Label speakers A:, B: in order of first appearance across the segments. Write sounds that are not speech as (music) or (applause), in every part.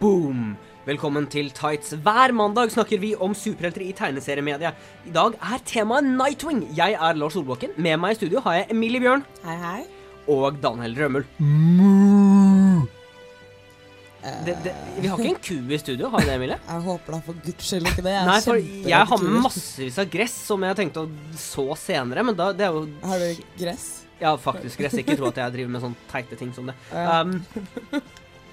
A: Boom! Velkommen til Tights. Hver mandag snakker vi om superhelter i tegneseriemedia. I dag er temaet Nightwing. Jeg er Lars Solbakken. Med meg i studio har jeg Emilie Bjørn
B: Hei, hei.
A: og Daniel Rømmel. Det, det, vi har ikke en ku i studio, har vi det,
B: (laughs)
A: Emilie?
B: Eh, Jeg håper da for guds skyld ikke det. Jeg er
A: Nei, for
B: kjemperedd
A: jeg har
B: for
A: med
B: kuer.
A: massevis av gress som jeg tenkte å så senere, men da, det er jo
B: Har du gress?
A: Ja, faktisk. Jeg skal ikke tro at jeg driver med sånne teite ting som det.
B: Ja.
A: Um,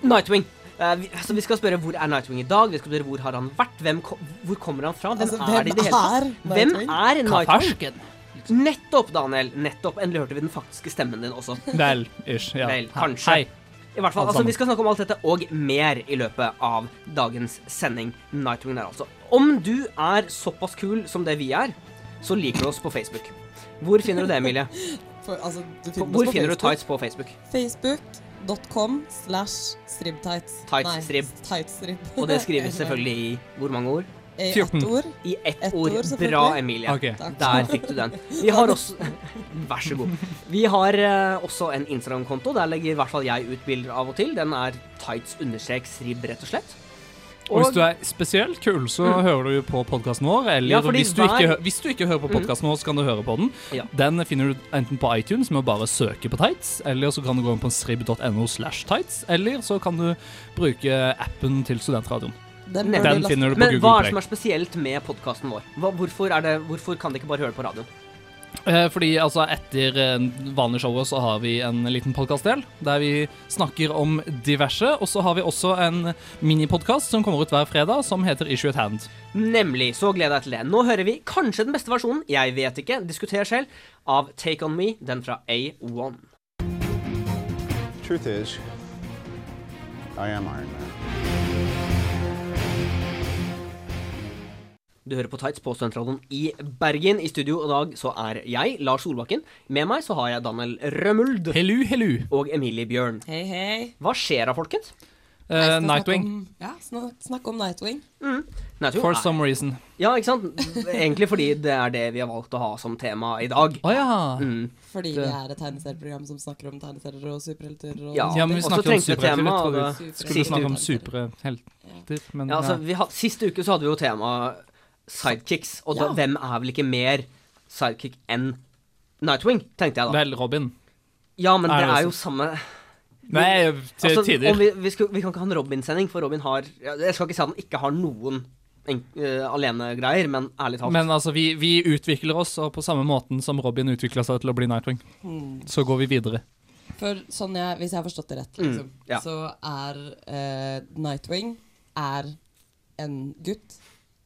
A: Nightwing. Eh, vi, altså, vi skal spørre hvor er Nightwing i dag, vi skal spørre hvor har han vært, hvem ko hvor kommer han fra, hvem
B: Altså,
A: er det i det hele tatt?
B: er
A: Hvem
B: Nightwing?
A: er Nightwing?
C: Kafarsken.
A: Nettopp, Daniel. Nettopp. Endelig hørte vi den faktiske stemmen din også.
C: (laughs) Vel, ish. Ja.
A: Vel,
C: Hei.
A: kanskje.
C: Hei.
A: I hvert fall,
C: Alt
A: altså,
C: sammen.
A: Vi skal snakke om alt dette og mer i løpet av dagens sending. Nightwing der, altså. Om du er såpass kul som det vi er, så liker du oss på Facebook. Hvor finner du det, Emilie?
B: For, altså, du finner oss
A: Hvor
B: på
A: finner du
B: Facebook.
A: tights på Facebook?
B: Facebook.com slash stribtights.
A: Tights
B: Nei,
A: strib.
B: Tightstrib.
A: Og det
B: (laughs)
A: skrives selvfølgelig i hvor mange ord?
B: I
C: 14.
B: E ett ord.
A: I ett,
B: Ett
A: ord.
B: ord, selvfølgelig.
A: Bra, Emilie.
C: Ok.
B: Takk.
A: Der fikk du den. Vi har også (laughs) Vær så god. Vi har eh, også en Instagram-konto. Der legger i hvert fall jeg ut bilder av og til. Den er tights-srib, rett og slett.
C: Og hvis du er spesielt kul, så hører du jo på podkasten vår. Eller
A: Mm. Ja, fordi
C: hvis, du
A: hver- Mm.
C: ikke, hø- hvis du ikke hører på podkasten vår, så kan du høre på den.
A: Ja.
C: Den finner du enten på iTunes med å bare søke på tights, eller så kan du gå inn på srib.no slash tights, eller så kan du bruke appen til studentradioen.
B: Den,
A: Den
B: bør du
C: Den
B: laste-
C: finner du på
A: Men hva er det
C: Google
A: som
C: Play.
A: er spesielt med podkasten vår? Hva, hvorfor, er det, hvorfor kan de ikke bare høre på radioen?
C: Eh, Fordi altså etter eh, vanlig showet så har vi en liten podkastdel der vi snakker om diverse, og så har vi også en minipodkast som kommer ut hver fredag, som heter Issue at Hand.
A: Nemlig. Så gleder jeg til det. Nå hører vi kanskje den beste versjonen, jeg vet ikke, diskuter selv, av Take On Me, den fra A1.
D: Truth is, I am Iron Man.
A: Du hører på Tights på Studentradioen i Bergen. I studio i dag så er jeg, Lars Solbakken. Med meg så har jeg Daniel Rømuld
C: Hellu, hellu.
A: og Emilie Bjørn.
B: Hei, hei.
A: Hva skjer da, folkens?
B: Jeg
C: Eh,
B: skal snakke
C: Nightwing.
B: om- Ja, snak, snakk om Nightwing.
A: Nei, jeg tror-
C: For some reason.
A: Ja, ikke sant? Egentlig fordi det er det vi har valgt å ha som tema i dag.
C: Å ja.
B: Fordi
C: Det-
B: vi er et tegneserieprogram som snakker om tegneserier og superhelter. Og
A: Ja.
C: ja, men vi
A: Også
C: snakket om
A: trengte vi tema,
C: superhelter.
A: og
C: Jeg
A: da-
C: trodde vi skulle snakke om superhelter, men eh,
A: Ja, altså,
C: ja.
A: vi had, siste uke så hadde vi jo tema sidekicks, og da,
B: Ja.
A: hvem er vel ikke mer sidekick enn Nightwing, tenkte jeg da.
C: Vel, Robin.
A: Ja, men
C: er
A: det
C: det
A: er jo samme
C: Nei, eh, til
A: Altså, om
C: tider.
A: vi, vi, skulle, vi kan ikke ha en Robin-sending, for Robin har ja, Jeg skal ikke si at han ikke har noen en- eh, alenegreier, men ærlig talt
C: Men altså, vi, vi utvikler oss, og på samme måten som Robin utvikla seg til å bli Nightwing, så går vi videre.
B: For sånn jeg, hvis jeg har forstått det rett,
A: Mm,
B: liksom,
A: ja.
B: så er eh, Nightwing er en gutt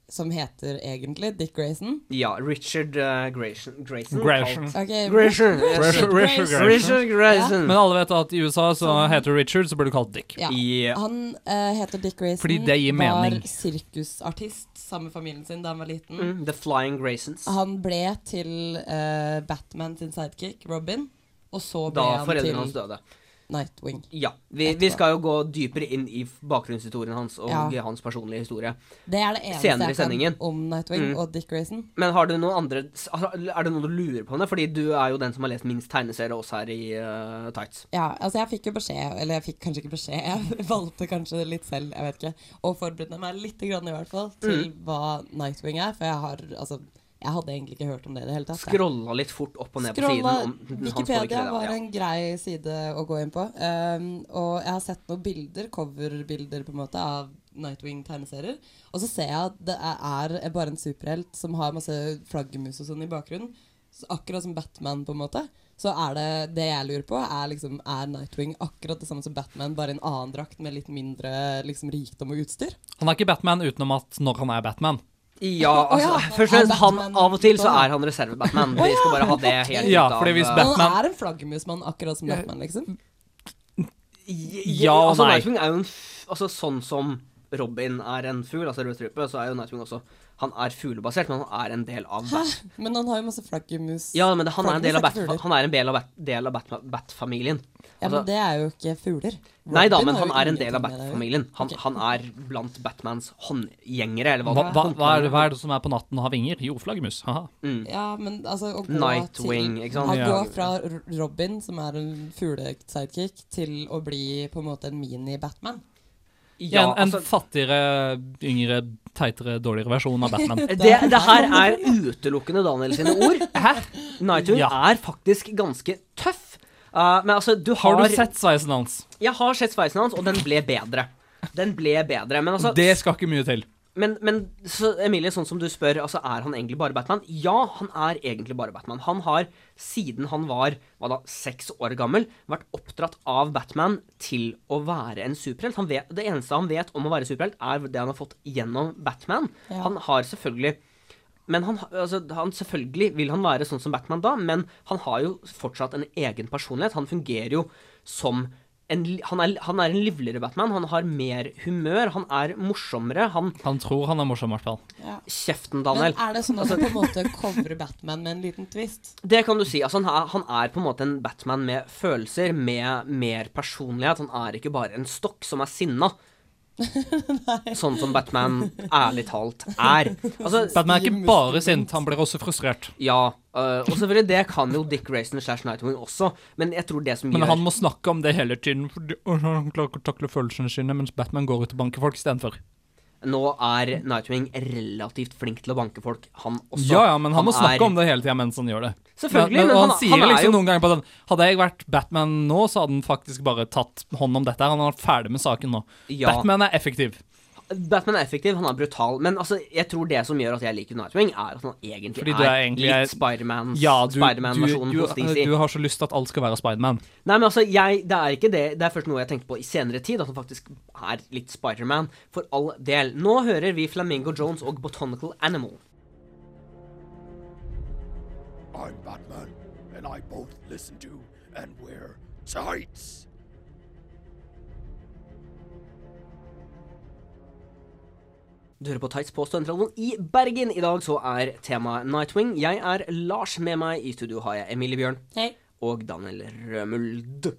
B: som heter egentlig Dick Grayson.
A: Ja, Richard eh, Grayson Grayson.
C: Grayson.
B: Ok,
A: Grayson.
C: Grayson.
A: Richard Grayson.
C: Men alle vet at i USA så
B: Sånn.
C: heter du Richard, så blir du kalt Dick.
B: Ja.
A: I-
B: Han eh, heter Dick Grayson.
C: Fordi det gir mening.
B: Var sirkusartist sammen med familien sin da han var liten.
A: Mm, The Flying Graysons.
B: Han ble til eh, Batman sin sidekick, Robin. Og så ble
A: Da
B: han
A: foreldrene hans
B: til
A: døde.
B: Nightwing.
A: Ja. Vi, vi
B: Etterpå.
A: skal jo gå dypere inn i bakgrunnshistorien hans og
B: Ja.
A: hans personlige historie.
B: Det er det eneste
A: Senere i
B: jeg kan
A: sendingen.
B: om Nightwing
A: Mm.
B: og Dick Grayson.
A: Men har du noen andre Er det noe du lurer på? Med? Fordi du er jo den som har lest minst tegneserie også her i eh, Tights.
B: Ja, altså jeg fikk jo beskjed, eller jeg fikk kanskje ikke beskjed, (laughs) jeg valgte kanskje litt selv, jeg vet ikke, og forberedte meg litt grann i hvert fall til hva Nightwing er, for jeg har, altså, jeg hadde egentlig ikke hørt om det i det hele tatt. jeg.
A: Scrolla litt fort opp og ned på
B: Scrolla-
A: siden. Om, (laughs) hans forrige
B: Wikipedia
A: kredit,
B: var
A: ja.
B: en grei side å gå inn på, um, og jeg har sett noen bilder, coverbilder på en måte, av Nightwing-tegneserier, og så ser jeg at det er, er bare en superhelt som har masse flaggemus og sånn i bakgrunnen, så akkurat som Batman på en måte, så er det det jeg lurer på, er liksom, er Nightwing akkurat det samme som Batman, bare i en annen drakt med litt mindre liksom, rikdom og utstyr?
C: Han er ikke Batman utenom at når han er Batman.
A: Ja,
B: Å,
A: altså,
B: ja.
A: først og fremst,
B: Er
A: han
B: Batman
A: av og til så
B: da?
A: er han reserve-Batman. Vi skal bare ha det helt
C: Ja,
A: ut av
C: fordi hvis
A: eh,
C: Bat-
B: Men
C: Batman-
B: han er en flaggermusmann, akkurat som Batman, liksom.
A: Ja
C: Ja og
A: altså,
C: nei.
A: Nightwing er jo en f altså, Sånn som Robin er en fugl, altså rød strupe, så er jo Nightwing også Han er fuglebasert, men han er en del av
B: Hæ?
A: Bat...
B: Men han har jo masse flaggermus.
A: Ja, men det, han er en del av,
B: Flaggermus er ikke
A: Bat
B: fugler.
A: han er en del av, Bat del av Bat Bat-familien.
B: Ja,
A: altså-
B: men det er jo ikke fugler.
A: Nei da,
B: Robin
A: men
B: har
A: han
B: jo
A: er en del av
B: ingenting med det å gjøre.
A: Bat-familien. Han,
B: Ok.
A: han er blant Batmans håndgjengere, eller hva,
C: Hva, hva, hva, er,
A: håndlangere.
C: det- hva er det som er på natten og har vinger? Jo, flaggermus. haha.
B: Ja, men altså å gå
A: Nightwing,
B: til,
A: ikke sant?
B: Han
C: Ja.
B: går fra R- Robin, som er en fugle-sidekick, til å bli på en måte en mini-Batman.
A: Ja,
C: en en
A: altså,
C: fattigere, yngre, teitere, dårligere versjon av
A: (laughs)
C: Batman.
A: det, det her er utelukkende Daniel sine ord. (laughs) Hæ? Nightwing
C: Ja.
A: er faktisk ganske tøff. Eh, men altså, du har,
C: Har du sett sveisen hans?
A: Jeg har sett sveisen hans, og den ble bedre. Den ble bedre, men altså
C: Det skal ikke mye til.
A: Men, men så Emilie, sånn som du spør, altså er han egentlig bare Batman? Ja, han er egentlig bare Batman. Han har siden han var hva da, seks år gammel, vært oppdratt av Batman til å være en superhelt. Han vet, det eneste han vet om å være superhelt, er det han har fått gjennom Batman.
B: Ja.
A: Han har selvfølgelig men han, ha- altså, han, selvfølgelig vil han være sånn som Batman da, men han har jo fortsatt en egen personlighet. Han fungerer jo som en, li- han, er, han er en livligere Batman. Han har mer humør, han er morsommere. Han
C: Han tror han er morsom, i hvert fall.
B: Ja.
A: Kjeften,
B: Men
A: Daniel.
B: er det sånn at du på en måte covrer Batman med en liten twist?
A: Det kan du si. Altså, han, er, han er på en måte en Batman med følelser, med mer personlighet. Han er ikke bare en stokk som er sinna. sånn som Batman ærlig talt er. Altså,
C: Batman er ikke bare sint, han blir også frustrert.
A: ja, øh, og selvfølgelig, det kan jo Dick Grayson slash Nightwing også, men jeg tror det som
C: Men
A: gjør
C: han må snakke om det hele tiden, fordi «Åh, han klarer ikke å takle følelsene sine, mens Batman går ut og banker folk istedenfor.
A: Nå er Nightwing relativt flink til å banke folk, han også.
C: Ja, ja, men han, må snakke
A: er-
C: om det hele tida mens han gjør det.
A: Selvfølgelig,
C: men,
A: men
C: og han,
A: han-
C: sier
A: han er
C: liksom
A: jo-
C: noen ganger på den Hadde jeg vært Batman nå, så hadde han faktisk bare tatt hånd om dette. her. Han er ferdig med saken nå.
A: Ja.
C: Batman er effektiv.
A: Batman er effektiv, han er brutal, men altså, jeg tror det som gjør at jeg liker Nightwing, er at han egentlig
C: Fordi du
A: er,
C: er egentlig-
A: litt Spidermans-
C: Ja, du,
A: Mm. Spiderman-versjonen
C: du,
A: hos
C: du,
A: DC.
C: du har så lyst til at alt skal være Spiderman.
A: Nei, men altså, jeg, det er ikke det. Det er først noe jeg tenkte på i senere tid, at han faktisk er litt Spiderman, for all del. Nå hører vi Flamingo Jones og Botanical Animal.
E: I'm Batman, and I both listen to and wear tights.
A: Du hører på Tights på Studentradioen i Bergen. I dag så er temaet Nightwing. Jeg er Lars, med meg i studio har jeg Emilie Bjørn
B: Hei.
A: og Daniel Rømuld.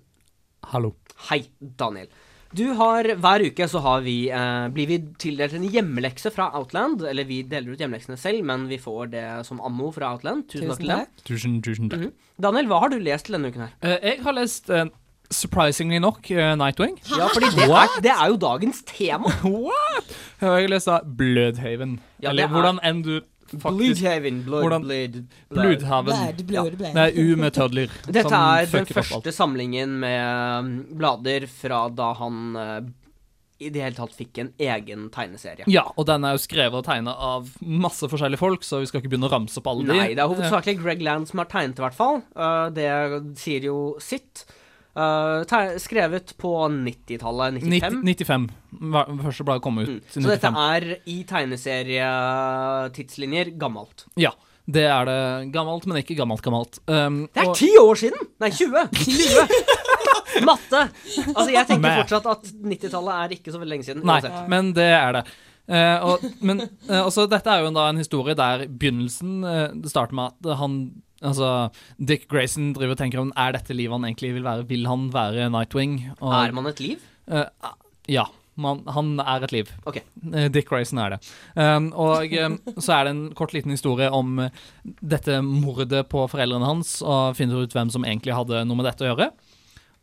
C: Hallo.
A: Hei, Daniel. Du har, Hver uke så har vi, eh, blir vi tildelt en hjemmelekse fra Outland. Eller vi deler ut hjemmeleksene selv, men vi får det som ammo fra Outland. Tusen,
B: Tusen
A: til dem.
B: takk.
C: Tusen, tusen
A: Mhm.
C: takk.
A: Daniel, hva har du lest til denne uken her?
C: Eh, jeg har lest, eh, surprisingly nok, eh, Nightwing.
A: (laughs) Ja, fordi det er, det er jo dagens tema.
C: What?! Jeg har lest da Blødhaven.
A: Ja, det
C: Eller
A: er-
C: hvordan enn du faktisk
A: Bloodhaven, blood,
C: Hvordan-
A: blood, blood.
C: Blødhaven.
B: Blad, blad, blad.
C: Nei, U med tødler.
A: (laughs) Dette
C: som
A: er den
C: fucker opp alt.
A: første samlingen med um, blader fra da han eh, i det hele tatt fikk en egen tegneserie.
C: Ja, og den er jo skrevet og tegna av masse forskjellige folk, så vi skal ikke begynne å ramse opp alle de.
A: Nei, det er hovedsakelig Greg Land som har tegnet, i hvert fall. Eh, det sier jo sitt. Eh, teg- skrevet på 90-tallet. 95.
C: 90, 95. Eh, Hva- Første bladet kom ut.
A: Mm.
C: i
A: Så dette
C: 95.
A: er i tegneserietidslinjer gammelt.
C: Ja, det er det. Gammelt, men ikke gammelt gammelt. Um,
A: Det er
C: og-
A: ti år siden! Nei, 20!
C: (laughs)
A: 20. Matte! Altså, jeg tenker
C: Mæ.
A: fortsatt at 90-tallet er ikke så veldig lenge siden.
C: Nei,
A: uansett.
C: men det er det. Eh, og, men eh, altså, dette er jo da en historie der begynnelsen eh, Det starter med at han Altså, Dick Grayson driver og tenker om Er dette livet han egentlig vil være. Vil han være Nightwing? Og,
A: Er man et liv?
C: eh, ja. Man, han er et liv.
A: Ok.
C: Eh, Dick Grayson er det. Um, og um, så er det en kort liten historie om eh, dette mordet på foreldrene hans, og finner ut hvem som egentlig hadde noe med dette å gjøre.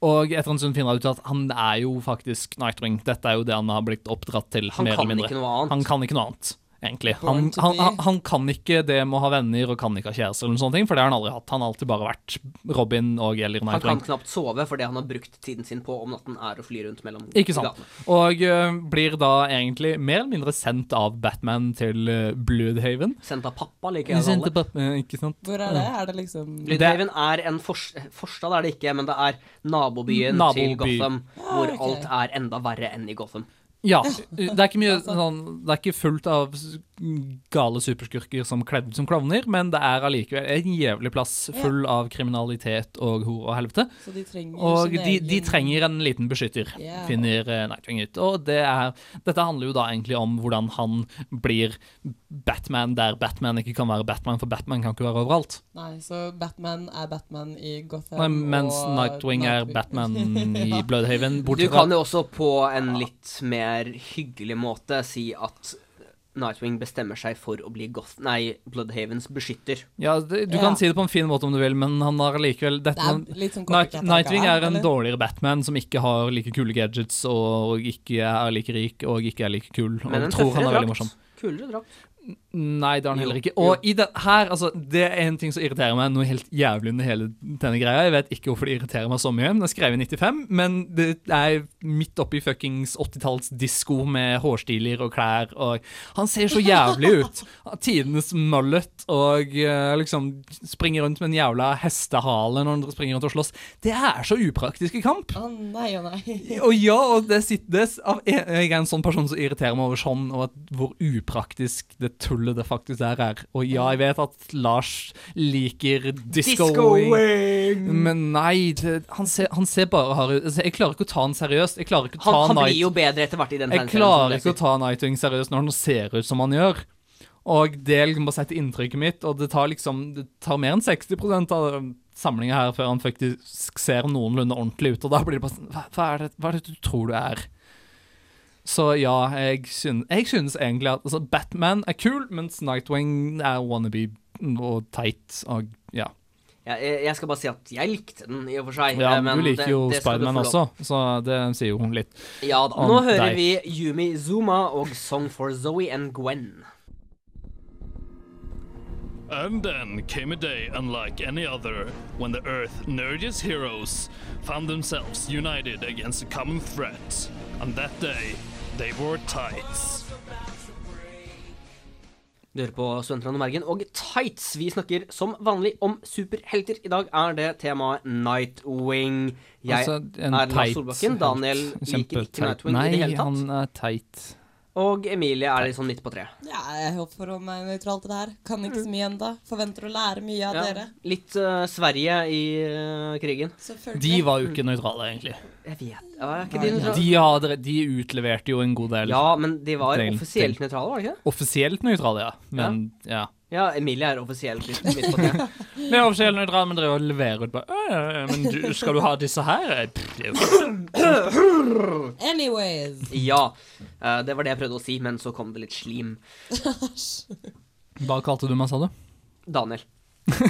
C: Og etter en stund finner han ut at han er jo faktisk Nightwing. Dette er jo det han har blitt oppdratt til.
A: Han
C: mer
A: kan
C: eller mindre.
A: ikke noe annet.
C: Han kan ikke noe annet, egentlig.
B: Born
C: Han,
B: to
C: han,
B: be.
C: han, han kan ikke det med å ha venner og kan ikke ha kjæreste, eller noen sånne ting, for det har han aldri hatt. Han har alltid bare vært Robin og eller
A: Han
C: Nightwing.
A: kan knapt sove fordi han har brukt tiden sin på om natten er å fly rundt mellom
C: Ikke sant.
A: gatene.
C: Og eh, blir da egentlig mer eller mindre sendt av Batman til eh, Bloodhaven.
A: Sendt av pappa, liker jeg
C: Ikke
A: alle.
C: sant? Eh, Ikke sant?
B: Hvor er det? Er det liksom
A: Lydhaven er en fors forstad, er det ikke, men det er nabobyen
C: Naboby.
A: til Gotham, hvor
B: ok.
A: alt er enda verre enn i Gotham.
C: Ja. Det er ikke, mye, sånn, det er ikke fullt av s- gale superskurker som kledd som klovner, men det er allikevel en jævlig plass full av kriminalitet og hore og helvete.
B: Så de trenger
C: Og
B: sin
C: de, de
B: egen-
C: trenger en liten beskytter,
B: Ja.
C: finner eh, Nightwing ut. Og det er, dette handler jo da egentlig om hvordan han blir Batman der Batman ikke kan være Batman, for Batman kan ikke være overalt.
B: Nei, så Batman er Batman i Gotham.
C: Nei, mens
B: og
C: Nightwing er Batman
B: (laughs)
C: i Bloodhaven.
A: Du
C: Bortsett fra
A: kan jo også på en litt mer hyggelig måte si at Nightwing bestemmer seg for å bli Goth... Nei, Bloodhavens beskytter.
C: ja, det- Du
B: Ja.
C: kan si det på en fin måte om du vil, men han har likevel dette,
B: Det er litt sånn
C: Night,
B: copycat-tanker
C: Nightwing
B: her,
C: er en
B: eller?
C: dårligere Batman som ikke har like kule gadgets, og ikke er like rik, og ikke er like kul, og
A: Men en
C: tror han
A: tøffere
C: er veldig morsom.
A: drakt. Kulere drakt.
C: Nei, det har han heller
A: Jo,
C: ikke.
A: jo.
C: Og i den her, altså, det er en ting som irriterer meg noe helt jævlig under hele denne greia. Jeg vet ikke hvorfor det irriterer meg så mye. Den er skrevet i 95, men det er midt oppi fuckings 80-talls disko med hårstiler og klær, og han ser så jævlig ut. (laughs) Tidenes mullet og eh, liksom springer rundt med en jævla hestehale når han springer rundt og slåss. Det er så upraktisk i kamp.
B: Å nei, å nei.
C: Og ja, og det sittes av Jeg jeg er en sånn person som irriterer meg over sånn, og at hvor upraktisk det tullet det faktisk der er. Og ja, jeg vet at Lars liker disco, men nei, det, han, ser, han ser bare harry ut. Altså, Jeg klarer ikke å ta han seriøst. Jeg klarer ikke å ta
A: Han, han
C: Night-
A: blir jo bedre etter hvert i den
C: jeg klarer ikke å ta Nightwing seriøst når han ser ut som han gjør. Og det liksom bare setter inntrykket mitt, og det tar liksom Det tar mer enn 60 av samlinga her før han faktisk ser noenlunde ordentlig ut, og da blir det bare sånn Hva, hva, er, det, hva er det du tror du er? Så ja, jeg synes, jeg synes egentlig at altså, Batman er kul, mens Nightwing er wannabe og teit og ja.
A: Ja, jeg, jeg skal bare si at jeg likte den, i og for seg.
C: ja
A: eh, men
C: du liker
A: det-
C: jo
A: det skal du
C: Spiderman
A: få lov-
C: også, så det sier jo litt.
A: Ja da.
C: Om
A: Nå hører
C: deg.
A: vi Yumi Zuma og Song for Zoe and Gwen.
F: And then came a day unlike any other when the Earth nerdiest heroes found themselves united against a common threat. On that day, they wore tights.
A: Du hører på Studentland og Mergen og Tights. Vi snakker som vanlig om superhelter. I dag er det temaet Nightwing. Jeg
C: Altså, en
A: er Lars
C: teit
A: Solbakken.
C: helt
A: Daniel liker
C: kjempeteit.
A: ikke Nightwing
C: Nei,
A: i det hele tatt.
C: han er teit.
A: Og Emilie er liksom midt på treet.
B: Ja, jeg håper for å holde meg nøytral til det her. Kan ikke
C: Mm.
B: så mye ennå. Forventer å lære mye av
A: Ja,
B: dere.
A: litt eh, Sverige i eh, krigen.
B: Selvfølgelig.
C: De var jo ikke nøytrale, egentlig.
A: Jeg vet ja, er ikke de nøytrale?
C: De, hadde, de utleverte jo en god del.
A: Ja, men de var
C: Tenk,
A: offisielt nøytrale, var de ikke det?
C: Offisielt nøytrale, ja. Men ja.
A: Ja, Emilie er offisielt litt midt på
C: (laughs)
A: treet.
C: Vi er offisielt nøytrale, men driver og leverer ut bare «Å, ja, ja, Men du, skal du ha disse her? Eh, pff, det er jo-
B: Anyways.
A: Ja. eh, det var det jeg prøvde å si, men så kom det litt slim.
C: Hva kalte du meg, sa du?
A: Daniel. (laughs)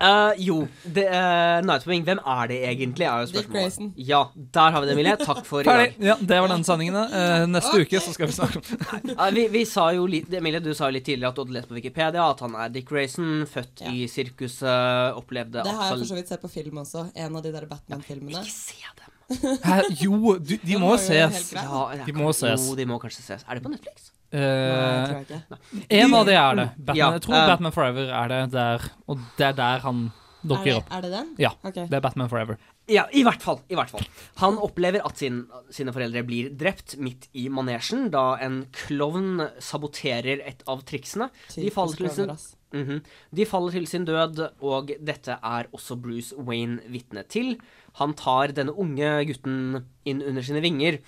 A: Eh, jo, det, eh, Nightwing, hvem er det egentlig? Er jo
B: Dick
A: spørsmålet.
B: Grayson.
A: Ja, der har vi det, Emilie. Takk for i dag.
C: Ferdig. Ja, det var den sendingen. da. Eh, neste uke så skal vi snakke om
A: (laughs) Eh, vi, vi sa jo litt, Emilie, du sa jo litt tidligere at du hadde lest på Wikipedia at han er Dick Grayson, født
B: Ja.
A: i sirkuset, opplevde
B: Det har jeg for
A: absolutt
B: så vidt sett på film også. En av de der Batman-filmene.
A: Ikke se dem!
C: Hæ, Jo, du, de
B: Den
C: må
B: var jo helt
C: ses.
B: grei.
A: Ja, jeg
C: De
A: kan-
C: må ses.
A: Jo, de må kanskje ses. Er det på Netflix?
B: Nei,
C: Eh,
B: tror jeg ikke.
C: en av de er det. Batman,
A: Ja,
C: jeg tror
A: eh,
C: Batman Forever er det der. Og det er der han
B: Er det,
C: dukker opp.
B: er det den?
C: Ja,
B: Ok.
C: det er Batman Forever.
A: Ja, i hvert fall. i hvert fall. Han opplever at sin, sine foreldre blir drept midt i manesjen da en klovn saboterer et av triksene. De
B: Typisk
A: faller til sin
B: klovner, ass.
A: Mhm. De faller til sin død, og dette er også Bruce Wayne vitne til. Han tar denne unge gutten inn under sine vinger,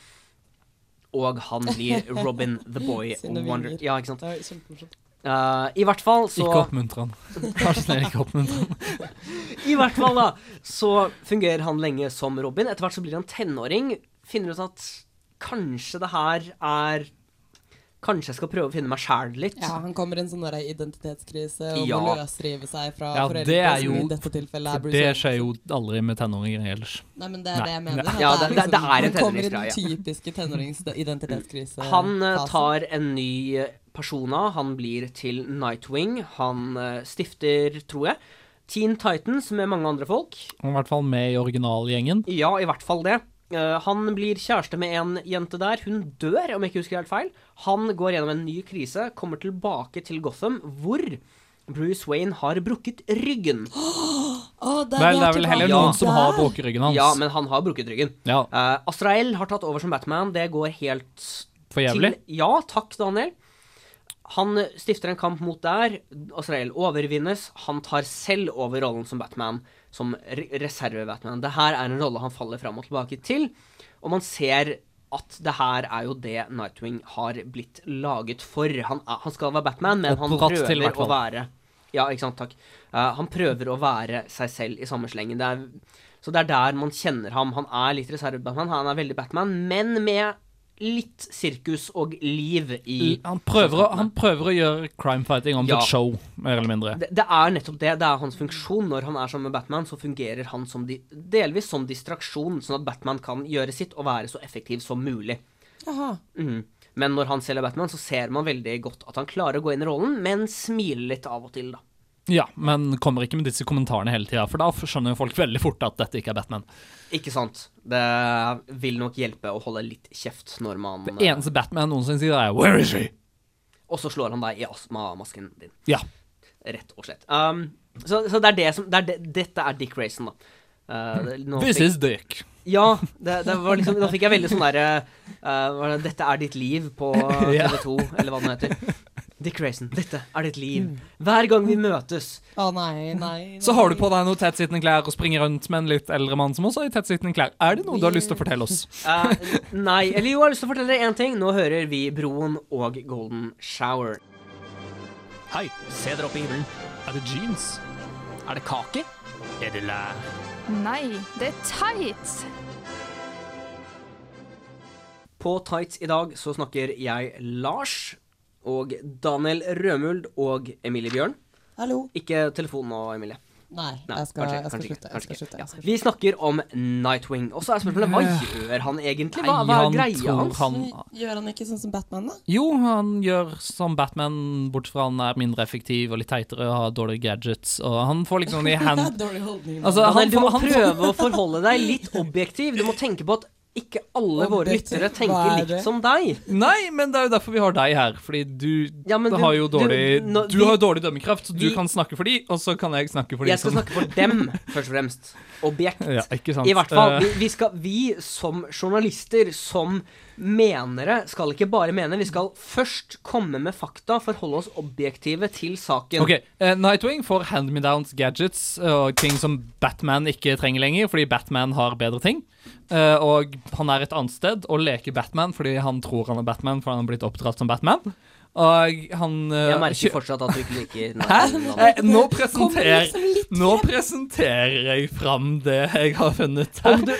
A: og han
B: (laughs)
A: blir Robin the Boy
B: Sine
A: Wonder.
B: vinger.
A: Ja, ikke sant?
B: Det var kjempemorsomt.
A: Eh, I hvert fall så
C: Ikke oppmuntre han. Vær så snill, ikke oppmuntre han.
A: (laughs) I hvert fall da, så fungerer han lenge som Robin. Etter hvert så blir han tenåring. Finner ut at kanskje det her er Kanskje jeg skal prøve å finne meg sjæl litt.
B: Ja, han kommer i en sånn der identitetskrise og
A: Ja.
B: må løsrive seg fra
C: Ja,
B: foreldre.
C: det er
B: som
C: jo-
B: i dette tilfellet er
C: For
B: Bruce
C: det
B: Wayne.
C: skjer jo aldri med tenåringer ellers.
B: Nei, men det er det jeg mener. at
A: Ja, det- det- det er en
B: han kommer i
A: tenåringsgreie.
B: den typiske
C: (laughs)
B: tenårings-identitetskrise.
A: Han eh, tar en ny eh, persona. Han blir til Nightwing. Han eh, stifter, tror jeg, Teen Titans med mange andre folk.
C: Han var i hvert fall med i originalgjengen.
A: Ja, i hvert fall det. Eh, han blir kjæreste med en jente der. Hun dør, om jeg ikke husker helt feil. Han går gjennom en ny krise, kommer tilbake til Gotham, hvor Bruce Wayne har brukket ryggen.
B: Å, der, vi
C: Vel, det er
B: tilbake
C: vel heller
A: Ja.
C: noen som har
B: der.
C: brukket ryggen hans.
A: Ja, men han har brukket ryggen.
C: Ja,
A: Eh, Azrael har tatt over som Batman. Det går helt
C: for jævlig.
A: til Ja, takk, Daniel. Han eh, stifter en kamp mot der. Azrael overvinnes. Han tar selv over rollen som Batman, som re- reserve-Batman. Det her er en rolle han faller fram og tilbake til, og man ser at det her er jo det Nightwing har blitt laget for. Han, er- han skal være Batman, men han
C: Oppdratt til, i hvert
A: prøver å
C: fall.
A: være Ja, ikke sant, takk. Eh, han prøver å være seg selv i samme slengen. Det er så det er der man kjenner ham. Han er litt reserve-Batman, han er veldig Batman, men med litt sirkus og liv i
C: Han prøver, å, han prøver å gjøre crime fighting om
A: Ja.
C: til et show, mer eller mindre.
A: det, det er nettopp det. Det er hans funksjon. Når han er sammen med Batman, så fungerer han som di delvis som distraksjon, sånn at Batman kan gjøre sitt og være så effektiv som mulig.
B: Jaha.
A: Mhm. Men når han selv er Batman, så ser man veldig godt at han klarer å gå inn i rollen, men smiler litt av og til, da.
C: Ja, men kommer ikke med disse kommentarene hele tida, for da skjønner jo folk veldig fort at dette ikke er Batman.
A: Ikke sant? Det vil nok hjelpe å holde litt kjeft når man
C: Det eneste Batman noensinne sier, er 'Where is she?'
A: Og så slår han deg i astmamasken din.
C: Ja.
A: Rett og slett. Um, så, så det er det som det er det, Dette er Dick Grayson, da. Uh, det- nå
C: This
A: fikk-
C: is Dick.
A: Ja, det, det var liksom, da fikk jeg veldig sånn derre uh, var det 'Dette er ditt liv' på
C: (laughs) Ja.
A: TV2, eller hva det nå heter. Dick Grayson, dette er ditt liv. Hver gang vi møtes.
B: Å nei, nei, nei.
C: Så har du på deg noen tettsittende klær og springer rundt med en litt eldre mann som også har tettsittende klær. Er det noe du har lyst til å fortelle oss?
A: Uh, nei. Eller jo, jeg har lyst til å fortelle dere én ting. Nå hører vi Broen og Golden Shower.
G: Hei, se dere opp i himmelen.
F: Er det jeans?
G: Er det kake? Er det lær?
H: Nei, det er tights!
A: På Tights i dag så snakker jeg Lars og Daniel Rømuld og Emilie Bjørn.
B: Hallo.
A: Ikke telefon nå, Emilie.
B: Nei,
A: Nei,
B: jeg skal,
A: kanskje-
B: jeg skal
A: kanskje ikke,
B: slutte. Jeg
A: kanskje
B: skal
A: ikke.
B: slutte. Jeg skal
A: Vi snakker om Nightwing. Og så er spørsmålet hva gjør han egentlig? Hva,
C: Nei,
A: hva
C: han
A: er greia
C: tror
A: hans?
C: han-
B: slutte. Gjør han ikke sånn som Batman, da?
C: Jo, han gjør som Batman, bortsett fra han er mindre effektiv og litt teitere og har dårlige gadgets, og han får
A: (laughs)
C: liksom de
B: (laughs)
C: hand...
B: Dårlig holdning. da.
C: Altså,
A: Daniel,
C: han
A: du
C: får,
A: må
C: han får
A: prøve å forholde deg litt objektiv. Du må tenke på at ikke alle våre
B: Objektiv,
A: lyttere
B: hva
A: tenker
B: er det?
A: likt som deg.
C: Nei, men det er jo derfor vi har deg her. Fordi du,
A: Ja, men du-
C: har jo
A: du-
C: dårlig Du,
A: nå- vi-
C: har jo dårlig dømmekraft, så du
A: vi-
C: kan snakke for de, og så kan jeg snakke for de
A: Jeg skal
C: som
A: snakke for dem, først og fremst. Objekt.
C: sånn- (laughs) Ja, ikke
A: I
C: sant.
A: hvert fall.
C: Eh,
A: Vi, vi, skal, vi som journalister, som menere, skal ikke bare mene. Vi skal først komme med fakta, forholde oss objektive til saken.
C: Ok, eh, Nightwing får hand-me-downs gadgets eh, og ting som Batman ikke trenger lenger, fordi Batman har bedre ting. Eh, og han er et annet sted og leker Batman fordi han tror han er Batman, for han har blitt oppdratt som Batman. Og han eh,
A: Jeg merker
C: kjø-
A: fortsatt at du ikke
C: (laughs)
A: liker
C: Hæ?
A: Nightwing. Daniel.
C: Eh, nå,
B: Kom
C: presenter,
B: liksom litt
C: nå presenterer jeg fram det jeg har funnet her.
A: Om du,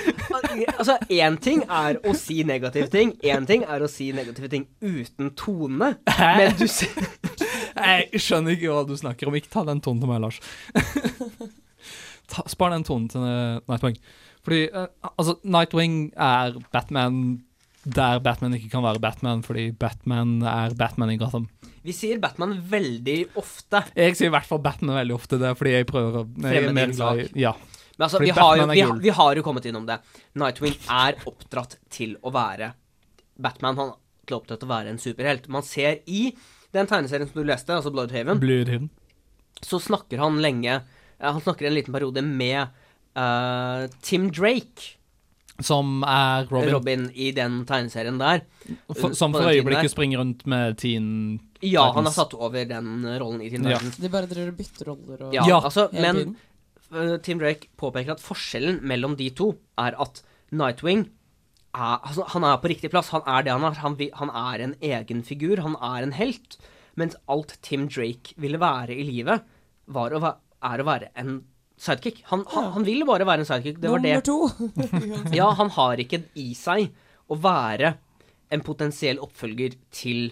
A: altså, én ting er å si negative ting, én ting er å si negative ting uten tone. Men du ser
C: (laughs) Jeg skjønner ikke hva du snakker om. Ikke ta den tonen til meg, Lars. (laughs) ta, spar den tonen til eh, Nightwing. Fordi eh, altså, Nightwing er Batman der Batman ikke kan være Batman, fordi Batman er Batman i Gotham.
A: Vi sier Batman veldig ofte.
C: Jeg sier i hvert fall Batman veldig ofte, det er fordi jeg prøver å jeg
A: Fremme
C: er mer
A: din
C: glad i-
A: sak.
C: Ja.
A: Men altså,
C: Fordi
A: vi har, jo,
C: Batman er
A: vi,
C: gull.
A: vi har jo kommet innom det. Nightwing er oppdratt til å være Batman. Han er oppdratt til å være en superhelt. Man ser i den tegneserien som du leste, altså Bloodhaven,
C: Bloodhaven.
A: så snakker han lenge eh, Han snakker en liten periode med eh, Tim Drake,
C: Som er Robin.
A: Robin. i den tegneserien der.
C: for, som
A: på den
C: for
A: tiden der.
C: øyeblikket springer rundt med teen
A: Ja, han har
C: Titans.
A: satt over den eh, rollen i Teen
C: Ja.
A: Titans.
B: De bare driver og bytter roller og
A: Ja,
C: Ja.
A: altså,
B: hele
A: men
B: tiden.
A: eh, Tim Drake påpeker at forskjellen mellom de to er at Nightwing er, altså, han er på riktig plass. Han er det han er. Han, vi- han er en egen figur. Han er en helt. Mens alt Tim Drake ville være i livet, var å, væ- er å være en sidekick. Han, han, han vil bare være en sidekick. Det var det.
B: Nummer
C: (laughs)
B: to!
A: Ja, han har ikke i seg å være en potensiell oppfølger til